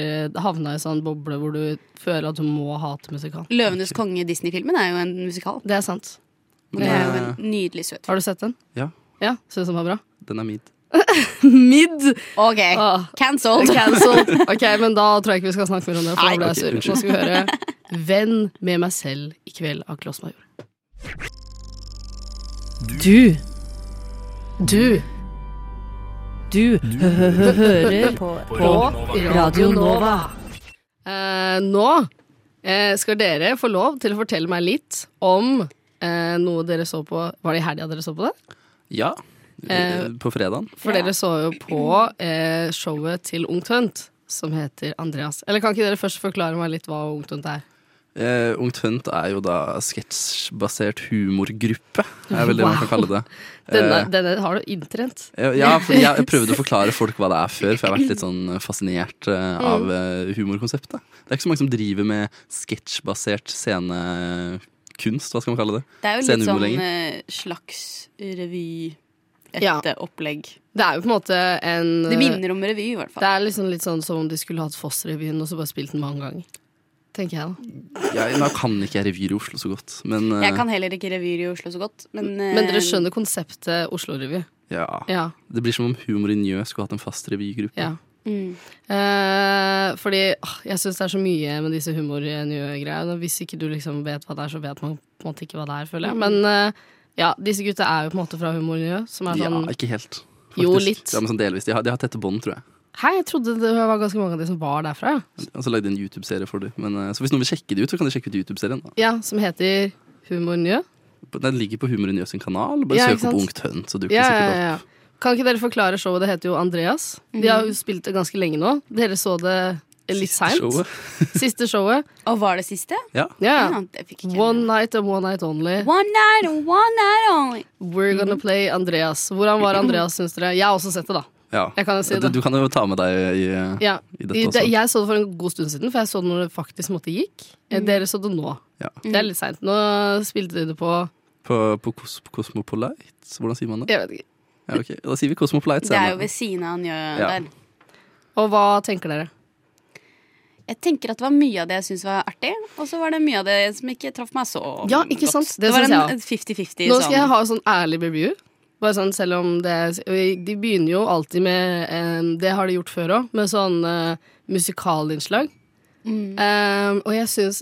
Speaker 3: havna i sånn boble hvor du føler at du må hate musikal.
Speaker 6: Løvenes konge-Disney-filmen er jo en musikal.
Speaker 3: Det er sant.
Speaker 6: Det er jo
Speaker 5: eh,
Speaker 6: en nydelig søt film.
Speaker 3: Har du sett den?
Speaker 5: Ja,
Speaker 3: Ja, synes den var bra?
Speaker 5: den er mid.
Speaker 3: Mid!
Speaker 6: OK,
Speaker 3: Ah.
Speaker 6: cancelled.
Speaker 3: Cancelled. Ok, men da tror jeg ikke vi skal snakke mer om det, for da
Speaker 6: Nei.
Speaker 3: ble jeg
Speaker 5: Ok,
Speaker 3: sur.
Speaker 5: unnskyld.
Speaker 3: Nå skal vi høre Venn med meg selv i kveld av Kloss Major.
Speaker 12: Du.
Speaker 3: Du
Speaker 12: Du hører på, Radio Nova.
Speaker 3: Eh, nå eh, skal dere få lov til å fortelle meg litt om eh, noe dere så på Var det i helga dere så på det?
Speaker 5: Ja.
Speaker 3: Eh,
Speaker 5: På fredagen.
Speaker 3: For dere så jo på eh, showet til Ungt Hønt, som heter Andreas. Eller kan ikke dere først forklare meg litt hva Ungt Hønt er?
Speaker 5: Eh, Ungt Hønt er jo da sketsjbasert humorgruppe, er vel det man kan
Speaker 3: Wow.
Speaker 5: kalle det.
Speaker 3: Denne,
Speaker 5: Eh,
Speaker 3: denne har du inntrent.
Speaker 5: eh, ja, for jeg prøvde å forklare folk hva det er før, for jeg har vært litt sånn fascinert eh,
Speaker 3: Mm.
Speaker 5: av eh, humorkonseptet. Det er ikke så mange som driver med sketsjbasert scenekunst, hva skal man kalle det?
Speaker 6: Det er jo litt
Speaker 5: Scenehumor
Speaker 6: sånn
Speaker 5: lenger.
Speaker 6: eh, slags revy
Speaker 3: Ja.
Speaker 6: Ekte opplegg.
Speaker 3: Det er jo på en måte en
Speaker 6: Det minner om revy, i hvert fall.
Speaker 3: Det er liksom litt sånn som om de skulle hatt Foss-revyen og så bare spilt den mange ganger. Tenker jeg, da.
Speaker 5: Jeg, nå kan ikke jeg revyer i Oslo så godt, men eh,
Speaker 6: Jeg kan heller ikke revyer i Oslo så godt, men eh,
Speaker 3: Men dere skjønner konseptet Oslo-revy?
Speaker 5: ja.
Speaker 3: Ja.
Speaker 5: Det blir som om Humor i Njø skulle hatt en fast revygruppe.
Speaker 3: ja.
Speaker 6: Mm.
Speaker 3: Eh, fordi åh, jeg syns det er så mye med disse humor-greiene. Hvis ikke du liksom vet hva det er, så vet man på en måte ikke hva det er, føler jeg. Men eh, ja, disse gutta er jo på en måte fra humor-miljø, som er
Speaker 5: Ja,
Speaker 3: sånn
Speaker 5: ikke helt. Faktisk.
Speaker 3: Jo, litt.
Speaker 5: Ja, men sånn delvis. De har, de har tette bånd, tror jeg.
Speaker 3: Hei, jeg trodde det var ganske mange av de som var derfra, ja.
Speaker 5: Og så lagde de en YouTube-serie for dem. Men, eh, så hvis noen vil sjekke det ut, så kan de sjekke ut YouTube-serien. da.
Speaker 3: ja som heter Humor-miljø.
Speaker 5: Den ligger på Humor i Njø sin kanal. Bare
Speaker 3: Ja, ikke
Speaker 5: søk opp
Speaker 3: sant?
Speaker 5: Ungt Hønt, så dukker
Speaker 3: Ja,
Speaker 5: det
Speaker 3: ja,
Speaker 5: sikkert opp.
Speaker 3: ja, ja. Kan ikke dere forklare showet? Det heter jo Andreas. De har jo spilt det ganske lenge nå. Dere så det litt seint.
Speaker 5: Showet.
Speaker 3: Siste showet.
Speaker 6: Og var det siste?
Speaker 5: Ja.
Speaker 3: Ja,
Speaker 6: Ja,
Speaker 3: ja.
Speaker 6: det fikk ikke jeg
Speaker 3: One
Speaker 6: med.
Speaker 3: night and one night only.
Speaker 6: One night and one night only.
Speaker 3: We're
Speaker 5: Mhm.
Speaker 3: gonna play Andreas. Hvordan var Andreas, syns dere? Jeg har også sett det, da.
Speaker 5: Ja.
Speaker 3: Jeg kan jo si
Speaker 5: Du,
Speaker 3: det.
Speaker 5: du kan jo ta med deg i, eh,
Speaker 3: Ja.
Speaker 5: i
Speaker 3: I
Speaker 5: dette
Speaker 3: det-
Speaker 5: også.
Speaker 3: Jeg så det for en god stund siden, for jeg så det når det faktisk måtte gikk. Eh, Dere så det nå.
Speaker 5: Mhm. Ja.
Speaker 3: Det er litt seint. Nå spilte de det på
Speaker 5: På, på Cos Cosmopolite? Hvordan sier man det?
Speaker 3: Jeg vet ikke.
Speaker 5: Ja, ok. Da sier vi Cosmopolite
Speaker 6: Det er jo
Speaker 5: scene.
Speaker 6: ved siden av Njø
Speaker 5: Ja.
Speaker 6: der.
Speaker 3: Og hva tenker dere?
Speaker 6: Jeg tenker at det var mye av det jeg syntes var artig, og så var det mye av det som ikke traff meg så
Speaker 3: Ja, ikke sant?
Speaker 6: godt.
Speaker 3: Det
Speaker 6: var
Speaker 3: synes
Speaker 6: en
Speaker 3: jeg også.
Speaker 6: en 50-50
Speaker 3: Nå skal
Speaker 6: sånn.
Speaker 3: jeg ha sånn ærlig review. Bare sånn, selv om det De begynner jo alltid med eh, Det har de gjort før òg, med sånn eh, musikalinnslag.
Speaker 6: Mm.
Speaker 3: Eh, og jeg syns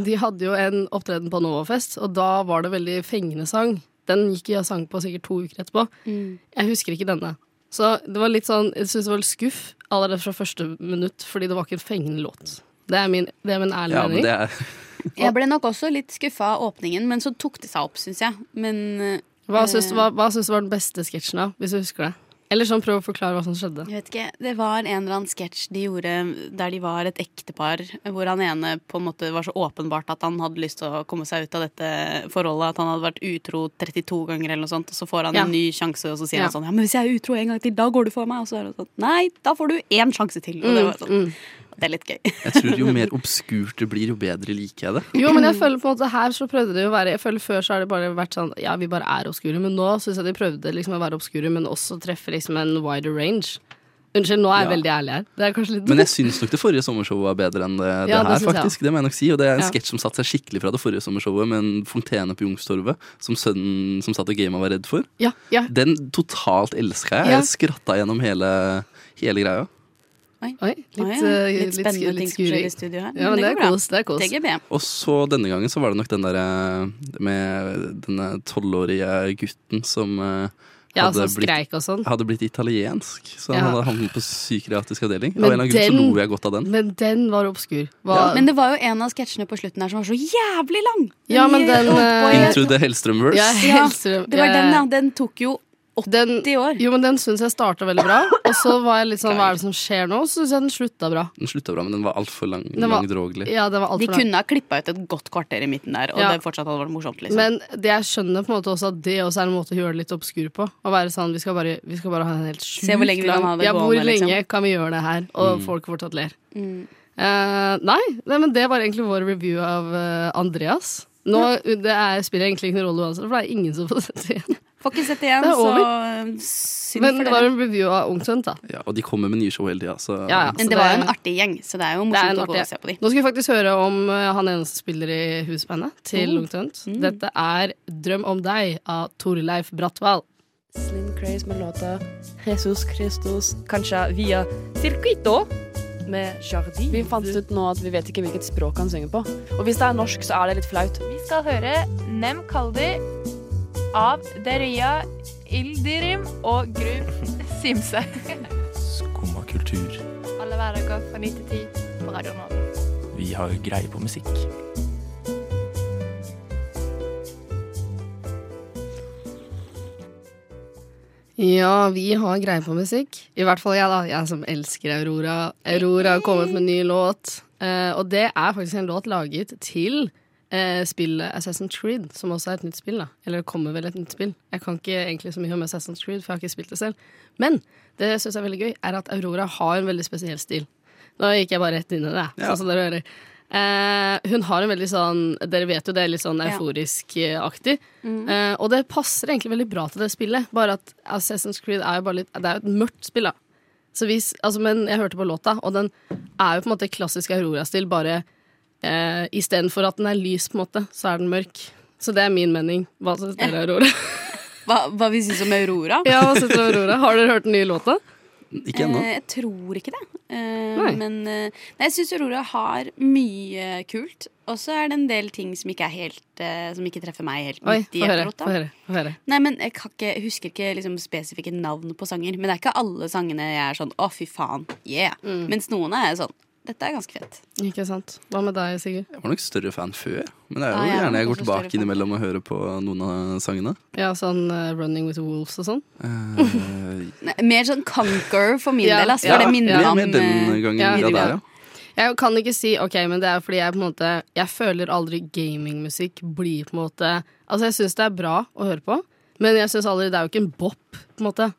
Speaker 3: De hadde jo en opptreden på Novafest, og da var det veldig fengende sang. Den gikk jeg og sang på sikkert to uker etterpå.
Speaker 6: Mm.
Speaker 3: Jeg husker ikke denne. Så det var litt sånn Jeg syns det var litt skuff allerede fra første minutt, fordi det var ikke en fengende låt. Det er min, det er min ærlige
Speaker 5: Ja, men
Speaker 3: mening.
Speaker 5: det er
Speaker 6: Jeg ble nok også litt skuffa av åpningen, men så tok det seg opp, syns jeg. Men eh,
Speaker 3: Hva syns du hva, hva syns du var den beste sketsjen, da? Hvis du husker det? Eller sånn, prøv å forklare hva som skjedde.
Speaker 6: Jeg vet ikke, Det var en eller annen sketsj de gjorde der de var et ektepar, hvor han ene på en måte var så åpenbart at han hadde lyst til å komme seg ut av dette forholdet, at han hadde vært utro 32 ganger eller noe sånt, og så får han
Speaker 3: Ja.
Speaker 6: en ny sjanse, og så sier
Speaker 3: Ja.
Speaker 6: han sånn Ja, men hvis jeg er utro en gang til, da går du for meg, og så er det sånn Nei, da får du én sjanse til.
Speaker 3: Mm,
Speaker 6: Og det var sånn. Det er litt gøy.
Speaker 5: Jeg tror jo mer obskurt det blir, jo bedre liker jeg det.
Speaker 3: Jo, men jeg føler på en måte her så prøvde de å være Jeg føler Før så har det bare vært sånn ja, vi bare er obskure, men nå syns jeg de prøvde liksom å være obskure, men også treffe liksom en wider range. Unnskyld, nå er jeg
Speaker 5: Ja.
Speaker 3: veldig ærlig her. Det er kanskje litt
Speaker 5: Men jeg syns nok det forrige sommershowet var bedre enn det,
Speaker 3: Ja,
Speaker 5: det
Speaker 3: det
Speaker 5: her,
Speaker 3: synes jeg
Speaker 5: faktisk. Det må jeg nok si. Og det er en
Speaker 3: Ja.
Speaker 5: sketsj som satte seg skikkelig fra det forrige sommershowet, med en fontene på Youngstorget som sønnen som satt og gama var redd for.
Speaker 3: Ja, ja.
Speaker 5: Den totalt elska jeg.
Speaker 3: Ja.
Speaker 5: Jeg skratta gjennom hele, hele greia.
Speaker 3: Oi, litt,
Speaker 6: Å ja,
Speaker 3: eh,
Speaker 6: litt
Speaker 3: sk-
Speaker 6: spennende ting som skjer
Speaker 3: skuring.
Speaker 6: i studio
Speaker 3: Ja,
Speaker 6: her, men
Speaker 3: men det
Speaker 6: det
Speaker 3: er
Speaker 6: går bra.
Speaker 3: kos. Det er kos.
Speaker 6: TGB.
Speaker 5: Og så denne gangen så var det nok den derre med denne tolvårige gutten som eh,
Speaker 3: Ja,
Speaker 5: hadde
Speaker 3: som skreik og sånn.
Speaker 5: Hadde blitt italiensk, så han
Speaker 3: Ja.
Speaker 5: hadde havnet på psykiatrisk avdeling.
Speaker 3: Men
Speaker 5: Av en eller annen grunn så
Speaker 3: den-
Speaker 5: lo jeg godt av den.
Speaker 3: Men den var obskur. Hva,
Speaker 6: Ja. Men det var jo en av sketsjene på slutten her som var så jævlig lang!
Speaker 3: Ja, men den,
Speaker 6: holdt på i-
Speaker 5: Into the Hellstrøm-verse.
Speaker 3: Ja,
Speaker 6: Ja,
Speaker 3: Hellstrøm-
Speaker 6: det var
Speaker 3: ja,
Speaker 6: den,
Speaker 3: ja.
Speaker 6: ja. Den tok jo 80 år.
Speaker 3: Jo, men den syns jeg starta veldig bra, og så var jeg litt sånn hva er det som skjer nå? Så syns jeg den slutta bra.
Speaker 5: Den slutta bra, men den var altfor lang,
Speaker 3: Den var-
Speaker 5: langdrogelig.
Speaker 3: Ja, den var alt
Speaker 6: De
Speaker 3: for lang.
Speaker 6: kunne ha klippa ut et godt kvarter i midten der, og
Speaker 3: Ja.
Speaker 6: det fortsatt hadde vært morsomt. liksom.
Speaker 3: Men det jeg skjønner på en måte også at det også er en måte å gjøre det litt obskur på. Å være sånn, Vi skal bare, vi skal bare ha en helt sjukt
Speaker 6: Se hvor lenge vi kan ha det
Speaker 3: Ja,
Speaker 6: gående,
Speaker 3: hvor lenge
Speaker 6: liksom. Mm.
Speaker 3: kan vi gjøre det her? Og folk fortsatt ler. Eh, nei, nei, men det var egentlig vår review av eh, Andreas. Nå det er, spiller egentlig ikke noen rolle uansett, for det er ingen som får sett det igjen.
Speaker 6: Får ikke sett det igjen,
Speaker 3: Det er
Speaker 6: så
Speaker 3: over.
Speaker 6: øh, synd
Speaker 3: Men
Speaker 6: for
Speaker 3: det var
Speaker 6: dere.
Speaker 3: en review av Ungtønt, da.
Speaker 5: Ja, og de kommer med nye show hele tida, så
Speaker 3: Ja, ja.
Speaker 6: Men
Speaker 3: så
Speaker 6: det var
Speaker 3: det-
Speaker 6: jo en artig gjeng, så det er jo
Speaker 3: Det er en
Speaker 6: morsomt å gå
Speaker 3: artig
Speaker 6: og se på de.
Speaker 3: Nå skal vi faktisk høre om eh, han ene som spiller i husbandet til
Speaker 6: Mm.
Speaker 3: Ungtønt. Dette er 'Drøm om deg' av Torleif Brattvall.
Speaker 13: Slim Craze med låta Jesus Christus, kanskje via Circuito med Jardi. Vi fant ut nå at vi vet ikke hvilket språk han synger på. Og hvis det er norsk, så er det litt flaut.
Speaker 14: Vi skal høre Nem Kaldi av Deria Ildirim og Gru Simse.
Speaker 15: Skumma kultur.
Speaker 14: Alle hverdager fra 9 til 10 på Radio Nova.
Speaker 15: Vi har greie på musikk.
Speaker 3: Ja, vi har greie på musikk. I hvert fall jeg, da. Jeg som elsker Aurora. Aurora har kommet med en ny låt. eh, og det er faktisk en låt laget til eh, spillet Assassin's Creed, som også er et nytt spill. da Eller det kommer vel et nytt spill. Jeg kan ikke egentlig så mye om Assassin's Creed, for jeg har ikke spilt det selv. Men det jeg syns er veldig gøy, er at Aurora har en veldig spesiell stil. Nå gikk jeg bare rett inn i det,
Speaker 16: Ja.
Speaker 3: sånn som dere hører. Eh, hun har en veldig sånn Dere vet jo det er litt sånn
Speaker 16: Ja.
Speaker 3: euforisk-aktig.
Speaker 16: Mm.
Speaker 3: Eh, og det passer egentlig veldig bra til det spillet. Bare at Assassin's Creed er jo bare litt Det er jo et mørkt spill, da. Så hvis, altså, men jeg hørte på låta, og den er jo på en måte klassisk Aurora-stil, bare eh, istedenfor at den er lys, på en måte, så er den mørk. Så det er min mening. Hva syns dere, Aurora?
Speaker 6: Hva, hva vi syns om Aurora?
Speaker 3: ja, hva syns dere, om Aurora? Har dere hørt den nye låta?
Speaker 5: Ikke ennå.
Speaker 6: Eh, Jeg tror ikke det. Eh,
Speaker 3: Nei.
Speaker 6: Men eh, nei, jeg syns Aurora har mye kult. Og så er det en del ting som ikke, er helt, eh, som ikke treffer meg helt
Speaker 3: Oi,
Speaker 6: midt i
Speaker 3: få høre.
Speaker 6: akkurat da.
Speaker 3: Få høre. Få høre.
Speaker 6: Nei, men jeg, kan ikke, jeg husker ikke liksom spesifikke navn på sanger. Men det er ikke alle sangene jeg er sånn 'å, fy faen, yeah'.
Speaker 3: Mm.
Speaker 6: Mens noen er jeg sånn 'dette er ganske fett'.
Speaker 3: Ikke sant. Hva med deg, Sigurd?
Speaker 5: Jeg var nok større fan før, men det er
Speaker 3: Ja,
Speaker 5: jo
Speaker 3: jeg er
Speaker 5: gjerne jeg
Speaker 3: nok også
Speaker 5: går
Speaker 3: større
Speaker 5: tilbake
Speaker 3: fan.
Speaker 5: innimellom og hører på noen av sangene.
Speaker 3: Ja, sånn eh, Running with Wolves og sånn?
Speaker 5: Eh,
Speaker 6: Nei, mer sånn Conquer for min
Speaker 3: Ja,
Speaker 6: del, ass, for det minner meg om
Speaker 5: mer den
Speaker 6: eh,
Speaker 5: gangen.
Speaker 3: ja,
Speaker 5: Ja,
Speaker 3: videregående.
Speaker 5: der, ja.
Speaker 3: Jeg kan ikke si ok, men det er fordi jeg på en måte Jeg føler aldri gamingmusikk blir på en måte Altså, jeg syns det er bra å høre på, men jeg syns aldri Det er jo ikke en bop, på en måte.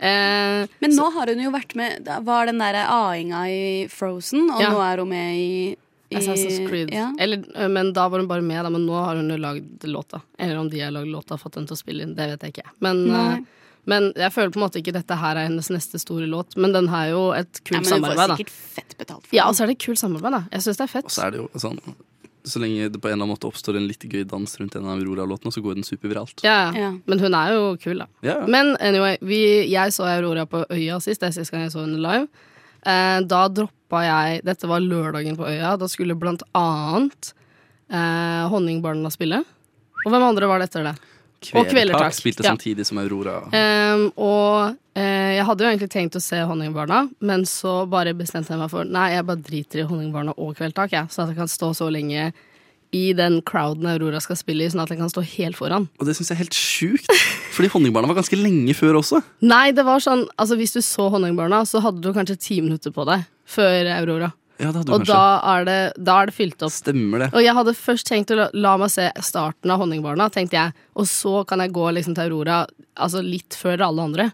Speaker 3: Eh,
Speaker 6: Men nå har hun jo vært med da Var den der A-inga i Frozen, og
Speaker 3: Ja.
Speaker 6: nå er hun med i, i
Speaker 3: Assassin's Creed.
Speaker 6: Ja.
Speaker 3: Eller, eh, men da var hun bare med, da, men nå har hun jo lagd låta. Eller om de har lagd låta og fått den til å spille inn, det vet jeg ikke. Men,
Speaker 6: Nei.
Speaker 3: eh, Men jeg føler på en måte ikke dette her er hennes neste store låt, men den har jo et
Speaker 6: Nei,
Speaker 3: kult
Speaker 6: men hun får
Speaker 3: samarbeid,
Speaker 6: sikkert
Speaker 3: da.
Speaker 6: fett betalt for
Speaker 3: Ja, og så er det et kult samarbeid, da. Jeg syns det er fett.
Speaker 5: Og så er det jo sånn Så lenge det på en eller annen måte oppstår en litt gøy dans rundt en av Aurora-låtene, så går den superviralt.
Speaker 3: Ja, ja. Men hun er jo kul, da.
Speaker 5: Ja, ja.
Speaker 3: Men anyway, vi, jeg så Aurora på Øya sist. Det er sist gang jeg så henne live. Eh, da droppa jeg Dette var lørdagen på Øya. Da skulle blant annet eh, Honningbarna spille. Og hvem andre var det etter det? og Kvelertak.
Speaker 5: spilte
Speaker 3: Ja.
Speaker 5: samtidig som Aurora.
Speaker 3: Ehm, og eh, jeg hadde jo egentlig tenkt å se Honningbarna, men så bare bestemte jeg meg for Nei, jeg bare driter i Honningbarna og Kveldtak, jeg, sånn at jeg kan stå så lenge i den crowden Aurora skal spille i, sånn at jeg kan stå helt foran.
Speaker 5: Og det syns jeg er helt sjukt, fordi Honningbarna var ganske lenge før også.
Speaker 3: Nei, det var sånn Altså, hvis du så Honningbarna, så hadde du kanskje ti minutter på deg før Aurora.
Speaker 5: Ja, det hadde du
Speaker 3: Og
Speaker 5: kanskje.
Speaker 3: da er, det, da er det fylt opp.
Speaker 5: Stemmer det.
Speaker 3: Og jeg hadde først tenkt å la, la meg se starten av Honningbarna, tenkte jeg. Og så kan jeg gå liksom til Aurora altså litt før alle andre.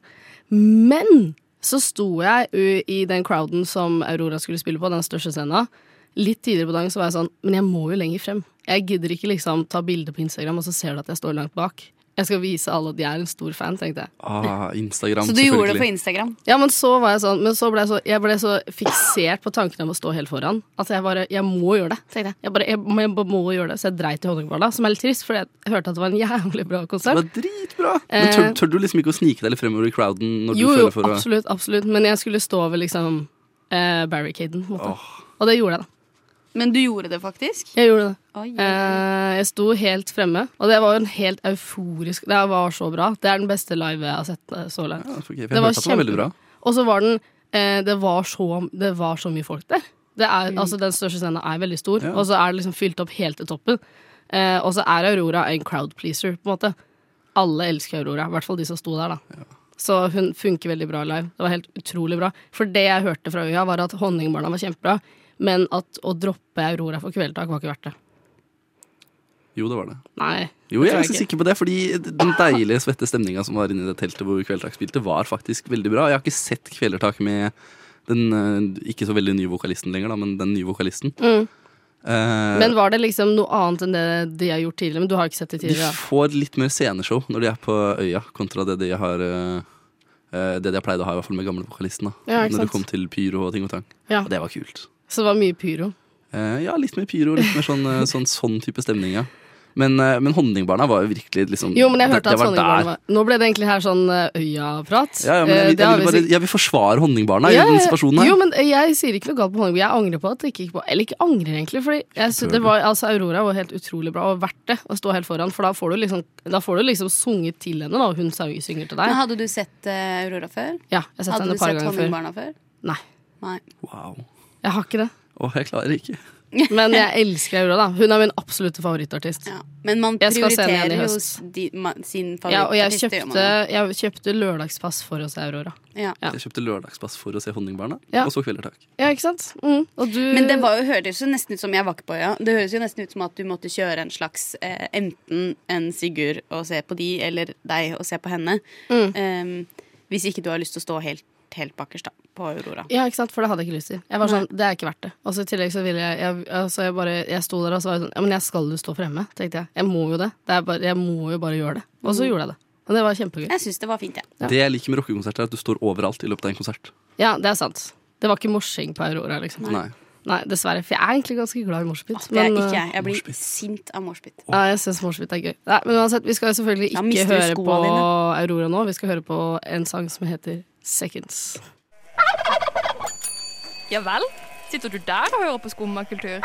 Speaker 3: Men så sto jeg u- i den crowden som Aurora skulle spille på, den største scenen. Litt tidligere på dagen så var jeg sånn, men jeg må jo lenger frem. Jeg gidder ikke liksom ta bilde på Instagram, og så ser du at jeg står langt bak. Jeg skal vise alle at jeg er en stor fan, tenkte jeg.
Speaker 5: Ah, Instagram,
Speaker 6: Så altså, du gjorde det på
Speaker 5: selvfølgelig.
Speaker 6: Instagram?
Speaker 3: Ja, men så var jeg sånn Men så ble jeg så, jeg ble så fiksert på tanken om å stå helt foran at jeg bare Jeg må gjøre det, tenkte jeg. Jeg, bare, jeg, må- jeg bare må gjøre det, så jeg dreit i Honningbarna, som er litt trist, for jeg hørte at det var en jævlig bra konsert.
Speaker 5: Det var dritbra! Men tør, tør du liksom ikke å snike deg litt fremover i crowden? Når
Speaker 3: Eh. jo,
Speaker 5: du
Speaker 3: jo,
Speaker 5: føler for å-
Speaker 3: absolutt, absolutt. Men jeg skulle stå ved liksom eh, barricaden, på en måte. Og det gjorde jeg, da.
Speaker 6: Men du gjorde det faktisk?
Speaker 3: Jeg gjorde det.
Speaker 6: Oi,
Speaker 3: Eh, jeg sto helt fremme, og det var jo en helt euforisk Det var så bra. Det er den beste live jeg har sett eh, så langt.
Speaker 5: for jeg hørte at det var veldig bra.
Speaker 3: Og så var den eh, det, var så, det var så mye folk der. Det er, altså, den største scenen er veldig stor,
Speaker 5: Mm. Ja.
Speaker 3: og så er det liksom fylt opp helt til toppen. Eh, og så er Aurora en crowd pleaser, på en måte. Alle elsker Aurora, i hvert fall de som sto der, da. Så hun funker veldig bra live. Det var helt utrolig bra. For det jeg hørte fra øya, var at Honningbarna var kjempebra, men at å droppe Aurora for Kvelertak var ikke verdt det.
Speaker 5: Jo, det var det.
Speaker 3: Nei.
Speaker 5: Jo,
Speaker 3: det tror
Speaker 5: jeg er ganske sikker på det, fordi den deilige, svette stemninga som var inni det teltet hvor Kvelertak spilte, var faktisk veldig bra. Jeg har ikke sett Kvelertak med den eh, ikke så veldig nye vokalisten lenger, da, men den nye vokalisten.
Speaker 3: Mm.
Speaker 5: Eh,
Speaker 3: Men var det liksom noe annet enn det de har gjort tidligere? Men du har ikke sett det
Speaker 5: de
Speaker 3: tidligere? da.
Speaker 5: får litt mer sceneshow når de er på øya, kontra det de har eh, eh, Det de har pleid å ha i hvert fall med gamle vokalisten. da
Speaker 3: Ja, ikke
Speaker 5: Når
Speaker 3: sant?
Speaker 5: det kom til pyro og ting og tang.
Speaker 3: Ja.
Speaker 5: Og det var kult.
Speaker 3: Så det var mye pyro.
Speaker 5: Eh, ja, litt mer pyro, litt mer sånn, eh, sånn, sånn type stemning, ja. Men, eh, men Honningbarna var jo virkelig liksom
Speaker 3: Jo, men jeg
Speaker 5: det-
Speaker 3: hørte
Speaker 5: det
Speaker 3: at
Speaker 5: var
Speaker 3: Honningbarna
Speaker 5: der.
Speaker 3: var Nå ble det egentlig her sånn eh, øya-prat.
Speaker 5: Ja, ja, men
Speaker 3: Eh,
Speaker 5: jeg, vil-
Speaker 3: det har vi
Speaker 5: jeg, vil bare,
Speaker 3: sikkert-
Speaker 5: jeg vil forsvare Honningbarna
Speaker 3: Ja,
Speaker 5: i
Speaker 3: ja,
Speaker 5: den
Speaker 3: ja.
Speaker 5: situasjonen her.
Speaker 3: Jo, men eh, jeg sier ikke noe galt på Honningbarna. Jeg angrer på at det ikke gikk på Eller ikke angrer, egentlig. Fordi jeg synes det var, altså, Aurora var helt utrolig bra og verdt det å stå helt foran. For da får du liksom, da får du liksom sunget til henne, da, og hun sang- synger til
Speaker 6: Men
Speaker 3: deg.
Speaker 6: hadde du sett eh, Aurora før?
Speaker 3: Ja, jeg har sett henne et
Speaker 6: hadde du
Speaker 3: par
Speaker 6: sett
Speaker 3: ganger før.
Speaker 6: Honningbarna før?
Speaker 3: Nei.
Speaker 6: Nei.
Speaker 5: Wow.
Speaker 3: Jeg har ikke det.
Speaker 5: Åh, jeg klarer ikke.
Speaker 3: Men jeg elsker Aurora, da. Hun er min absolutte favorittartist.
Speaker 6: Men man
Speaker 3: Jeg skal se henne igjen i
Speaker 6: prioriterer jo
Speaker 3: høst.
Speaker 6: s- de, man, sin
Speaker 3: Ja, og jeg
Speaker 6: favorittartist. det gjør man
Speaker 3: kjøpte, jeg kjøpte lørdagspass for å se Aurora.
Speaker 6: jo. ja.
Speaker 5: Jeg kjøpte lørdagspass for å se Honningbarna,
Speaker 3: Ja.
Speaker 5: og så Kvelertak.
Speaker 3: Ja, ikke sant? Mm. Og du
Speaker 6: Men det var jo, høres jo nesten ut som jeg var ikke på øya. Det høres jo nesten ut som at du måtte kjøre en slags eh, enten en Sigurd og se på de, eller deg og se på henne. Ehm, hvis ikke du har lyst til å stå helt, helt bakerst da, på Aurora.
Speaker 3: Ja, ikke sant? For det hadde jeg ikke lyst til. Jeg var sånn, Det er ikke verdt det. Og så i tillegg så ville jeg Jeg, altså jeg bare Jeg sto der og så var jeg sånn Ja, men jeg skal jo stå fremme, tenkte jeg. Jeg må jo det. det er bare, jeg må jo bare gjøre det. Og så
Speaker 6: Mm.
Speaker 3: gjorde jeg det. Og det var kjempegøy.
Speaker 6: Jeg syns det var fint, jeg. Ja.
Speaker 5: Det jeg liker med rockekonserter, er at du står overalt i løpet av en konsert.
Speaker 3: Ja, det er sant. Det var ikke morsing på Aurora, liksom.
Speaker 5: Nei.
Speaker 3: Nei, dessverre. For jeg er egentlig ganske glad i morsbit.
Speaker 6: Det er
Speaker 3: men,
Speaker 6: ikke Ah, jeg. Jeg blir
Speaker 3: Moshpit.
Speaker 6: sint av moshpit.
Speaker 3: Nei, jeg syns morsbit er gøy. Nei, men uansett, vi skal jo selvfølgelig
Speaker 6: Da
Speaker 3: ikke
Speaker 6: mister du
Speaker 3: høre
Speaker 6: skoene
Speaker 3: på
Speaker 6: dine.
Speaker 3: Aurora nå. Vi skal høre på en sang som heter Seconds.
Speaker 14: Ja vel? Sitter du der og hører på skummakultur?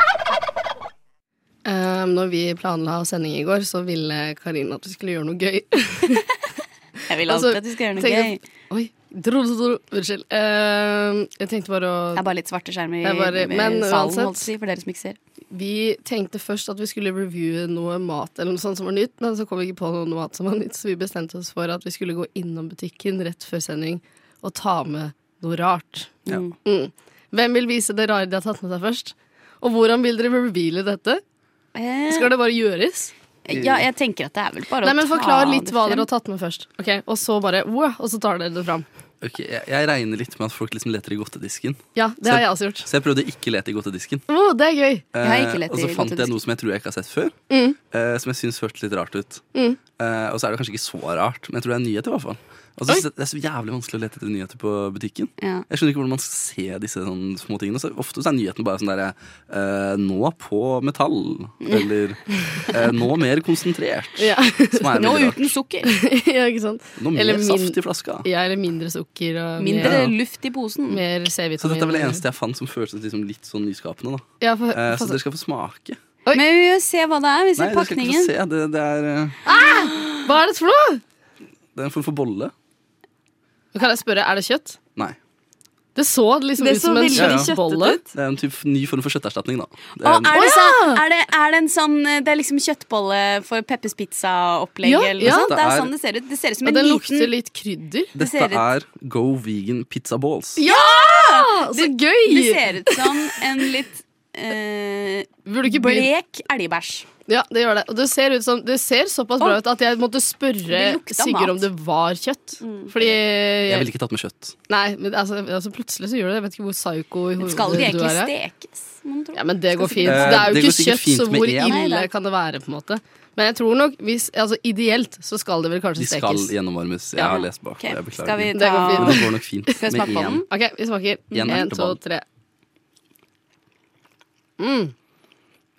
Speaker 3: Um, når vi planla sending i går, så ville Karina at vi skulle gjøre noe gøy.
Speaker 6: Jeg vil alltid at du skal gjøre noe
Speaker 3: tenkte jeg-
Speaker 6: gøy.
Speaker 3: Oi, dro, dro, dro. Unnskyld. Um, jeg tenkte bare å
Speaker 6: Det er bare litt svarte skjermer i
Speaker 3: Det er bare-
Speaker 6: i
Speaker 3: men
Speaker 6: salen,
Speaker 3: uansett-
Speaker 6: holdt jeg på å si, for dere som ikke ser.
Speaker 3: Vi tenkte først at vi skulle reviewe noe mat eller noe sånt som var nytt, men så kom vi ikke på noe mat som var nytt, så vi bestemte oss for at vi skulle gå innom butikken rett før sending og ta med noe rart.
Speaker 5: Ja.
Speaker 3: Mm. Hvem vil vise det rare de har tatt med seg først? Og hvordan vil dere reveale dette? Skal det bare gjøres?
Speaker 6: Eh, Ja, jeg tenker at det er vel bare
Speaker 3: Nei, men
Speaker 6: å ta
Speaker 3: Forklar litt
Speaker 6: det
Speaker 3: hva
Speaker 6: frem.
Speaker 3: dere har tatt med først. Ok, Og så bare wow, og så tar dere det fram.
Speaker 5: Ok, jeg, jeg regner litt med at folk liksom leter i godtedisken.
Speaker 3: Ja, det
Speaker 5: Så
Speaker 3: har jeg også gjort.
Speaker 5: Så jeg prøvde å ikke lete i godtedisken.
Speaker 3: Å, det er gøy.
Speaker 5: Eh, og så fant jeg noe som jeg tror jeg ikke har sett før.
Speaker 3: Mm.
Speaker 5: eh, som jeg syns hørtes litt rart ut.
Speaker 3: Mm.
Speaker 5: Eh, og så er det kanskje ikke så rart, men jeg tror det er en nyhet. i hvert fall Og så
Speaker 3: Oi.
Speaker 5: synes jeg Det er så jævlig vanskelig å lete etter nyheter på butikken.
Speaker 6: Ja.
Speaker 5: Jeg skjønner ikke hvordan man skal se disse sånn små tingene. Så ofte så er nyheten bare sånn derre eh, Nå på metall. Eller eh, nå mer konsentrert.
Speaker 3: Ja.
Speaker 5: Som er veldig rart.
Speaker 6: sukker.
Speaker 3: ja, ikke sant?
Speaker 5: Nå mer saft i flaska.
Speaker 3: Ja, eller mindre sukker. Og
Speaker 5: Mindre
Speaker 6: luft i posen.
Speaker 3: Mer
Speaker 5: Så dette er vel det
Speaker 3: C-vitamin.
Speaker 5: eneste jeg fant som føltes liksom litt sånn nyskapende. da
Speaker 3: Ja, få-
Speaker 5: Eh,
Speaker 3: få
Speaker 5: Så
Speaker 3: se.
Speaker 5: dere skal få smake.
Speaker 6: Men vi vil se hva det er. Vi
Speaker 5: Nei,
Speaker 6: ser
Speaker 5: dere skal ikke få
Speaker 6: pakningen.
Speaker 5: se. Det, det er eh,
Speaker 3: Ah! Hva er det for noe?
Speaker 5: Det er en form for bolle.
Speaker 3: Kan jeg spørre, er det kjøtt?
Speaker 5: Nei.
Speaker 3: Det så liksom ut som en slags bolle.
Speaker 5: Det er en typ ny form for kjøtterstatning, da. Det
Speaker 6: Å,
Speaker 5: er
Speaker 6: er,
Speaker 5: en-
Speaker 6: det sånn, er, det, er det en sånn eh, Det er liksom kjøttbolle for Peppers Pizza-opplegg?
Speaker 3: Ja,
Speaker 6: eller noe
Speaker 3: ja.
Speaker 6: sånt. Det
Speaker 5: Det
Speaker 6: er
Speaker 5: er-
Speaker 6: sånn det ser ut. Det ser ut som
Speaker 3: Og
Speaker 6: en
Speaker 3: den
Speaker 6: liten
Speaker 3: lukter litt krydder.
Speaker 5: Dette er Go Vegan Pizza Balls.
Speaker 3: Ja! Så gøy!
Speaker 6: altså, Det ser ut som en litt eh, blek elgbæsj.
Speaker 3: Ja, det gjør det. Og det ser, ut som, det ser såpass bra ut at jeg måtte spørre
Speaker 6: Det lukta mat. Mm.
Speaker 3: Sigurd om det var kjøtt. Fordi
Speaker 5: Jeg ville ikke tatt med kjøtt.
Speaker 3: Nei, men altså, altså plutselig så gjør det det. Jeg vet ikke hvor psycho i hodet
Speaker 6: Skal de
Speaker 3: du
Speaker 6: egentlig
Speaker 3: er. jeg.
Speaker 6: stekes? mon tro?
Speaker 3: Ja, men det går
Speaker 6: Skal
Speaker 3: fint.
Speaker 5: Eh,
Speaker 3: Det er jo
Speaker 5: det går
Speaker 3: ikke
Speaker 5: sikkert
Speaker 3: kjøtt,
Speaker 5: fint
Speaker 3: så
Speaker 5: med
Speaker 3: hvor
Speaker 5: én. Nei,
Speaker 3: ille
Speaker 5: det er-
Speaker 3: kan det være, på en måte. Men jeg tror nok, hvis, altså ideelt, så skal det vel
Speaker 5: De
Speaker 3: kanskje
Speaker 5: skal
Speaker 3: stekes.
Speaker 5: gjennomvarmes. Jeg
Speaker 3: Ja.
Speaker 5: har lest bak.
Speaker 3: Ok,
Speaker 5: Jeg beklager.
Speaker 3: skal vi
Speaker 5: Men
Speaker 3: ta- Det går fint.
Speaker 5: det går nok fint
Speaker 6: Skal vi
Speaker 5: med
Speaker 6: smake på
Speaker 5: én.
Speaker 6: den?
Speaker 3: Ok, vi smaker.
Speaker 5: Én
Speaker 3: Én, to,
Speaker 5: erteball.
Speaker 3: tre. Mm.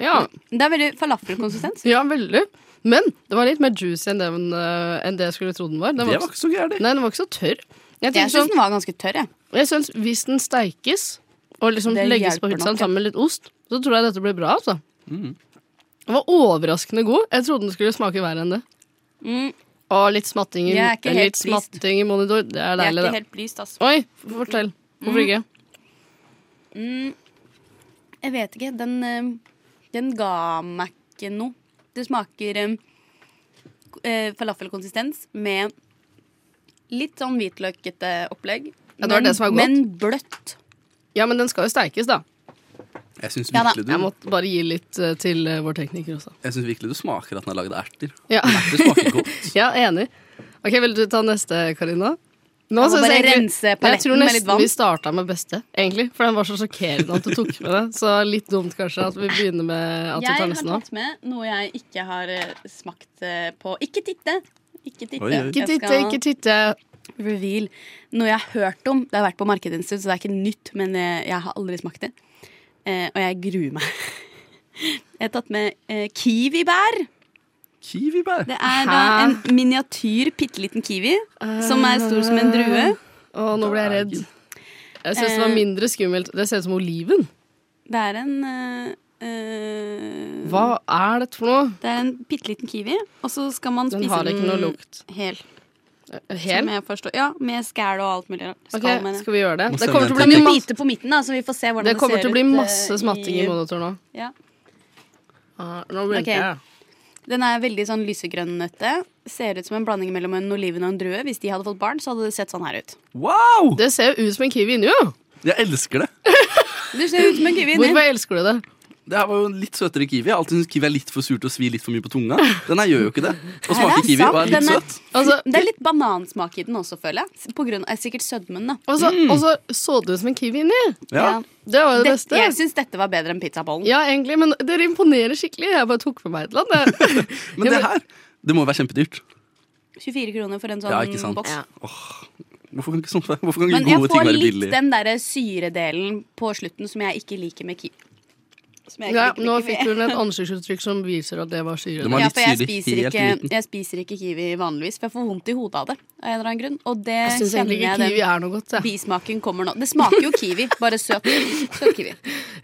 Speaker 3: Ja.
Speaker 6: Det er veldig falafelkonsistens.
Speaker 3: Ja, veldig. Men det var litt mer juicy enn det, men, eh, enn det jeg skulle tro den var. Den
Speaker 6: Det var ikke
Speaker 5: så gærlig.
Speaker 3: Nei, den var ikke så tørr. sånn,
Speaker 6: Jeg, synes syns den var ganske tørr, jeg.
Speaker 3: Jeg synes hvis den steikes, og liksom
Speaker 6: Det
Speaker 3: legges på
Speaker 6: hjelper
Speaker 3: pizzaen
Speaker 6: nok, ja.
Speaker 3: sammen med litt ost, så tror jeg dette blir bra, altså.
Speaker 6: Mm.
Speaker 3: Den var overraskende god. Jeg trodde den skulle smake verre enn det.
Speaker 6: Mm,
Speaker 3: Og litt smatting i,
Speaker 6: Jeg er ikke helt
Speaker 3: litt
Speaker 6: pleased.
Speaker 3: smatting i monitor. Det er
Speaker 6: Jeg er
Speaker 3: deilig,
Speaker 6: ikke
Speaker 3: det.
Speaker 6: helt blyst, altså.
Speaker 3: Oi, fortell. Hvorfor
Speaker 6: Mm.
Speaker 3: ikke?
Speaker 6: Mm, jeg vet ikke. Den, eh, den ga meg ikke noe. Det smaker eh, k- eh, falafelkonsistens med litt sånn hvitløkete opplegg.
Speaker 3: Ja, det var
Speaker 6: men,
Speaker 3: det som var godt.
Speaker 6: Men bløtt.
Speaker 3: Ja, men den skal jo steikes, da.
Speaker 5: Jeg syns
Speaker 6: Ja da.
Speaker 5: virkelig,
Speaker 3: Jeg
Speaker 5: du-
Speaker 3: måtte bare gi litt eh, til eh, vår tekniker også.
Speaker 5: jeg syns virkelig du smaker at den er lagd av erter.
Speaker 3: Ja.
Speaker 5: Erter smaker godt.
Speaker 3: Ja, enig. Ok, Vil du ta neste, Karina? Nå
Speaker 6: Jeg må
Speaker 3: synes
Speaker 6: bare
Speaker 3: egentlig-
Speaker 6: rense
Speaker 3: Jeg tror
Speaker 6: paletten med litt
Speaker 3: nesten
Speaker 6: vann.
Speaker 3: vi starta med beste, egentlig. For den var så sjokkerende at du tok med det. Så litt dumt kanskje at vi begynner med at du
Speaker 6: Jeg
Speaker 3: tar
Speaker 6: har
Speaker 3: nesten av.
Speaker 6: tatt med noe jeg ikke har eh, smakt eh, på. Ikke titte! Ikke titte.
Speaker 3: Oi, oi. Ikke
Speaker 6: Jeg
Speaker 3: titte,
Speaker 6: skal-
Speaker 3: ikke titte.
Speaker 6: Reveal. Noe jeg har hørt om. Det har vært på markedet en stund, så det er ikke nytt. Men eh, jeg har aldri smakt det. Eh, og jeg gruer meg. Jeg har tatt med eh, kiwibær.
Speaker 5: Kiwibær?
Speaker 6: Det er da
Speaker 3: Hæ?
Speaker 6: en miniatyr, bitte liten kiwi som er stor som en drue.
Speaker 3: Å, nå ble jeg redd. Jeg syns det var
Speaker 6: Eh.
Speaker 3: mindre skummelt. Det ser ut som oliven.
Speaker 6: Det er en eh, eh,
Speaker 3: Hva er dette for noe?
Speaker 6: Det er en bitte liten kiwi, og så skal man
Speaker 3: Den
Speaker 6: spise
Speaker 3: har ikke noe lukt.
Speaker 6: hel.
Speaker 3: Hel?
Speaker 6: Som jeg forstår. Ja, med skall og alt mulig rart.
Speaker 3: Ok,
Speaker 6: Skall, mener jeg.
Speaker 3: skal vi gjøre det?
Speaker 5: Må
Speaker 3: Det
Speaker 5: sende
Speaker 3: kommer
Speaker 5: en
Speaker 3: til å
Speaker 5: til
Speaker 3: bli
Speaker 5: deg.
Speaker 3: masse,
Speaker 6: Bite på midten, da, så vi får se hvordan
Speaker 3: det
Speaker 6: det,
Speaker 3: kommer
Speaker 6: ser
Speaker 3: til å bli
Speaker 6: ut, eh,
Speaker 3: masse smatting i monitor nå.
Speaker 6: Ja.
Speaker 3: Ah, Nå blinker
Speaker 6: Ok.
Speaker 3: jeg.
Speaker 6: Den er veldig sånn lysegrønnete. Ser ut som en blanding mellom en oliven og en drue. Hvis de hadde fått barn, så hadde det sett sånn her ut.
Speaker 5: Wow!
Speaker 3: Det ser jo ut som en kiwi inni, jo.
Speaker 5: Jeg elsker det.
Speaker 6: Det ser ut som en kiwi
Speaker 3: Hvorfor elsker du det?
Speaker 5: Det her var jo en litt søtere kiwi. Jeg har alltid syntes kiwi er litt for surt og svir litt for mye på tunga. Den her gjør jo ikke det. Og
Speaker 6: Nei,
Speaker 5: smaker
Speaker 6: det er
Speaker 5: kiwi og
Speaker 6: sant.
Speaker 5: er litt
Speaker 6: Den er-
Speaker 5: søt.
Speaker 3: Altså,
Speaker 6: det er litt banansmak i den også, føler jeg. På grunn av, sikkert sødmen, da.
Speaker 3: Og så og så, så det ut som en kiwi inni.
Speaker 5: Ja.
Speaker 3: Det var jo det
Speaker 6: Mm. Det-
Speaker 3: beste.
Speaker 6: jeg syns dette var bedre enn pizzabollen.
Speaker 3: Ja, egentlig, men dere imponerer skikkelig. Jeg bare tok med meg et eller annet.
Speaker 5: Men det her, det må jo være kjempedyrt.
Speaker 6: 24 kroner for en sånn
Speaker 5: Ja, ikke sant?
Speaker 6: boks.
Speaker 5: Åh, hvorfor kan ikke, sånt, være- hvorfor kan
Speaker 6: Men
Speaker 5: ikke
Speaker 6: jeg
Speaker 5: gode ting
Speaker 6: får
Speaker 5: være
Speaker 6: litt
Speaker 5: billig?
Speaker 6: den derre syredelen på slutten som jeg ikke liker med kiwi. Som jeg ikke
Speaker 3: Ja,
Speaker 6: liker med
Speaker 3: nå
Speaker 6: kiwi.
Speaker 3: fikk hun et ansiktsuttrykk som viser at det var syre.
Speaker 6: ja, for jeg spiser, ikke, jeg spiser ikke kiwi vanligvis, for jeg får vondt i hodet av det. Av en eller annen grunn Og det
Speaker 3: Jeg syns egentlig
Speaker 6: kjenner jeg
Speaker 3: ikke kiwi
Speaker 6: den
Speaker 3: er noe godt. Jeg.
Speaker 6: bismaken kommer nå. Det smaker jo kiwi, bare søt, søt kiwi.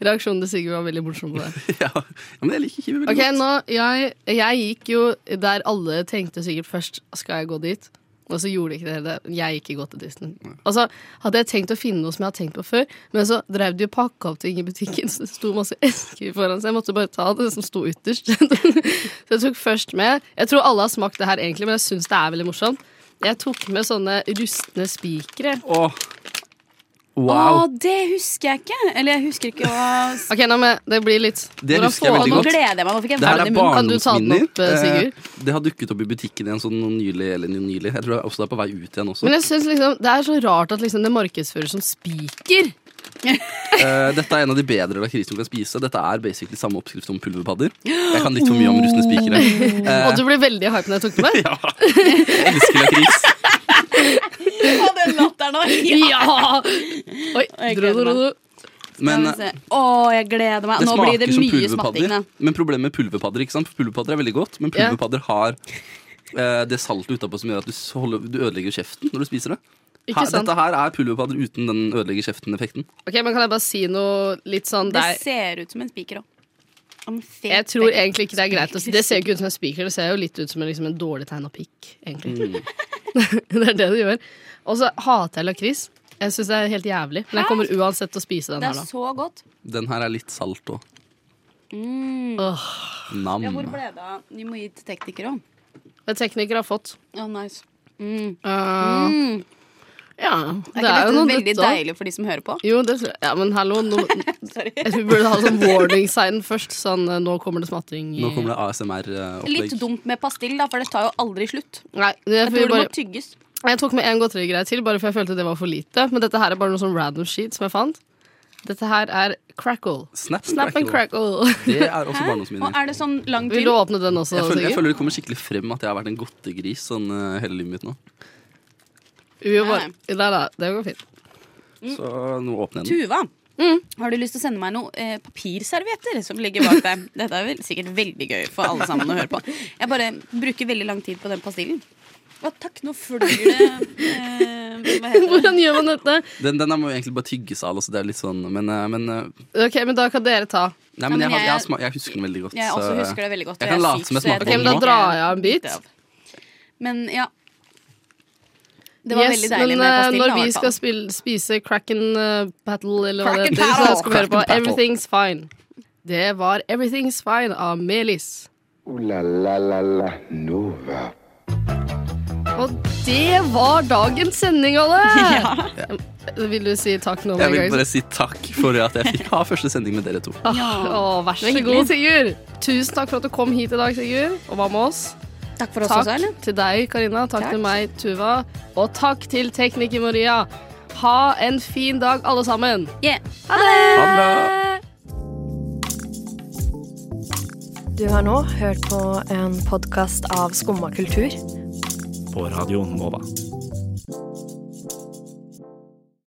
Speaker 3: Reaksjonen til Sigurd var veldig morsom på det.
Speaker 5: Ja, men jeg liker kiwi veldig
Speaker 3: Ok,
Speaker 5: godt.
Speaker 3: nå, jeg, jeg gikk jo der alle tenkte sikkert først Skal jeg gå dit? Og så gjorde de ikke det. det. Jeg gikk i Gottedisen. Altså, hadde jeg tenkt å finne noe som jeg hadde tenkt på før, men så drev de og pakka opp ting i butikken, så det sto masse esker foran, så jeg måtte bare ta det som sto ytterst. så jeg tok først med Jeg tror alle har smakt det her, egentlig, men jeg syns det er veldig morsomt. Jeg tok med sånne rustne spikere.
Speaker 5: Åh,
Speaker 6: Å,
Speaker 5: Wow.
Speaker 6: det husker jeg ikke. Eller jeg husker ikke å
Speaker 3: Ok, nå med, det blir litt
Speaker 5: Det husker jeg veldig
Speaker 6: Nå
Speaker 5: godt.
Speaker 6: gleder jeg meg. Nå fikk jeg
Speaker 5: Det her
Speaker 6: vann i
Speaker 5: er
Speaker 6: munnen. Kan du ta den
Speaker 5: barndomsminner.
Speaker 6: opp, eh, Sigurd?
Speaker 5: Eh, Det har dukket opp i butikken igjen sånn nylig. Eller nylig. Jeg tror det er- også det er på vei ut igjen også.
Speaker 3: Men jeg synes liksom, det er så rart at liksom det markedsføres som spiker.
Speaker 5: Eh, dette er en av de bedre lakrisene du kan spise. Dette er basically samme oppskrift som pulverpadder. Jeg kan litt for mye om rustne spikere. Eh,
Speaker 3: Og du ble veldig hype når jeg tok den der.
Speaker 5: jeg elsker lakris.
Speaker 6: Å, den latteren var
Speaker 3: Ja! Oi, dro, dro, dro.
Speaker 5: Men
Speaker 6: Skal vi se. Å, jeg gleder meg.
Speaker 5: det
Speaker 6: Nå blir
Speaker 5: smaker
Speaker 6: det
Speaker 5: som
Speaker 6: mye smatting.
Speaker 5: pulverpadder.
Speaker 6: da.
Speaker 5: Men problemet med pulverpadder ikke sant? For Pulverpadder er veldig godt, men
Speaker 6: Ja.
Speaker 5: pulverpadder har eh, det saltet utapå som gjør at du, s- holder, du ødelegger kjeften når du spiser det.
Speaker 3: Ikke
Speaker 5: Her,
Speaker 3: sant?
Speaker 5: dette her er pulverpadder uten den ødelegger kjeften-effekten.
Speaker 3: Ok, men Kan jeg bare si noe litt sånn
Speaker 6: Det
Speaker 3: der?
Speaker 6: ser ut som en spiker òg.
Speaker 3: Jeg tror egentlig ikke det er greit. å si- Det ser jo ikke ut som en spiker, det ser jo litt ut som en, liksom, en dårlig tegna pikk.
Speaker 5: Mm.
Speaker 3: egentlig. det er det det gjør. Og så hater jeg lakris. Jeg syns det er helt jævlig. Men jeg kommer uansett til å spise den
Speaker 6: Det
Speaker 3: her,
Speaker 6: er
Speaker 3: da.
Speaker 6: så godt.
Speaker 5: Den her er litt salt òg.
Speaker 6: Mm.
Speaker 5: Nam.
Speaker 6: Ja, hvor ble det av? Vi må gi til teknikere òg.
Speaker 3: Teknikere har fått.
Speaker 6: Å, nice. Mm.
Speaker 3: Eh,
Speaker 6: Mm.
Speaker 3: Ja,
Speaker 6: Er ikke dette veldig
Speaker 3: dutt også.
Speaker 6: deilig for de som hører på?
Speaker 3: Jo, det tror jeg. Ja, men hallo, nå, jeg tror vi burde ha sånn warning sign først. Sånn, eh, nå kommer det smatring. i-
Speaker 5: Nå kommer det ASMR-opplegg.
Speaker 6: Litt dumt med pastill, da, for det tar jo aldri slutt.
Speaker 3: Nei, det er
Speaker 6: Jeg
Speaker 3: fordi
Speaker 6: tror det
Speaker 3: bare...
Speaker 6: må tygges.
Speaker 3: Jeg tok med en godterigreie til, bare for jeg følte det var for lite. Men dette her er bare noe sånn random shit som jeg fant. Dette her er crackle.
Speaker 5: Snap,
Speaker 3: Snap and crackle.
Speaker 5: Det er også
Speaker 6: Og
Speaker 5: barndomsminner.
Speaker 6: er det sånn lang
Speaker 3: Vil du
Speaker 6: tynn?
Speaker 3: åpne den også,
Speaker 5: Jeg føler, jeg
Speaker 3: Sigurd?
Speaker 5: føler det kommer skikkelig frem at jeg har vært en godtegris sånn eh, hele livet mitt nå.
Speaker 3: Vi vil bare... Nei, nei, det går fint.
Speaker 6: Mm.
Speaker 5: Så nå åpner jeg den.
Speaker 6: Tuva,
Speaker 3: Mm.
Speaker 6: har du lyst til å sende meg noen eh, papirservietter som ligger bak deg? Dette er vel sikkert veldig gøy for alle sammen å høre på. Jeg bare bruker veldig lang tid på den pastillen. Å, takk, nå flyr det eh, Hva heter det?
Speaker 3: Hvordan gjør man dette?
Speaker 5: Den, den her må jo egentlig bare tygges av, altså, det er litt sånn, men, eh, men eh,
Speaker 3: Ok, men da kan dere ta.
Speaker 5: Nei, men jeg, har- jeg, har sma- jeg husker den veldig godt.
Speaker 6: Jeg også
Speaker 5: så- eh,
Speaker 6: husker det veldig godt, og
Speaker 5: Jeg
Speaker 6: jeg
Speaker 5: kan
Speaker 6: er
Speaker 5: late
Speaker 6: syk,
Speaker 5: som jeg
Speaker 6: så jeg
Speaker 5: smakte
Speaker 3: Ok,
Speaker 5: den
Speaker 3: men da
Speaker 5: nå.
Speaker 3: drar jeg av en bit.
Speaker 6: Men ja. Det var
Speaker 3: Yes,
Speaker 6: veldig deilig
Speaker 3: men,
Speaker 6: med
Speaker 3: eh,
Speaker 6: pastillen.
Speaker 3: Når vi skal
Speaker 6: spille
Speaker 3: spille, spise Cracken eh, Battle, eller hva det
Speaker 6: Cracken
Speaker 3: heter, så
Speaker 6: Battle!
Speaker 3: skal vi høre på
Speaker 6: Cracken Battle.
Speaker 3: Everything's Fine. Det var Everything's Fine av Melis.
Speaker 2: Ooh la la la la Nova.
Speaker 3: Og det var dagens sending, Olle! Vil du si takk nå? med
Speaker 5: Jeg vil
Speaker 3: en gang?
Speaker 5: bare si takk for at jeg fikk ha første sending med dere to.
Speaker 3: Ah, å, vær så
Speaker 6: Det var
Speaker 3: god,
Speaker 6: hyggelig.
Speaker 3: Sigurd. Tusen takk for at du kom hit i dag, Sigurd, og var med oss.
Speaker 6: Takk for oss
Speaker 3: takk
Speaker 6: også, eller?
Speaker 3: til deg, Karina. Takk, til meg, Tuva. Og takk til tekniker Maria. Ha en fin dag, alle sammen.
Speaker 6: Yeah.
Speaker 3: Ha det!
Speaker 16: Du har nå hørt på en podkast av Skumma kultur.
Speaker 15: På Radio Nova.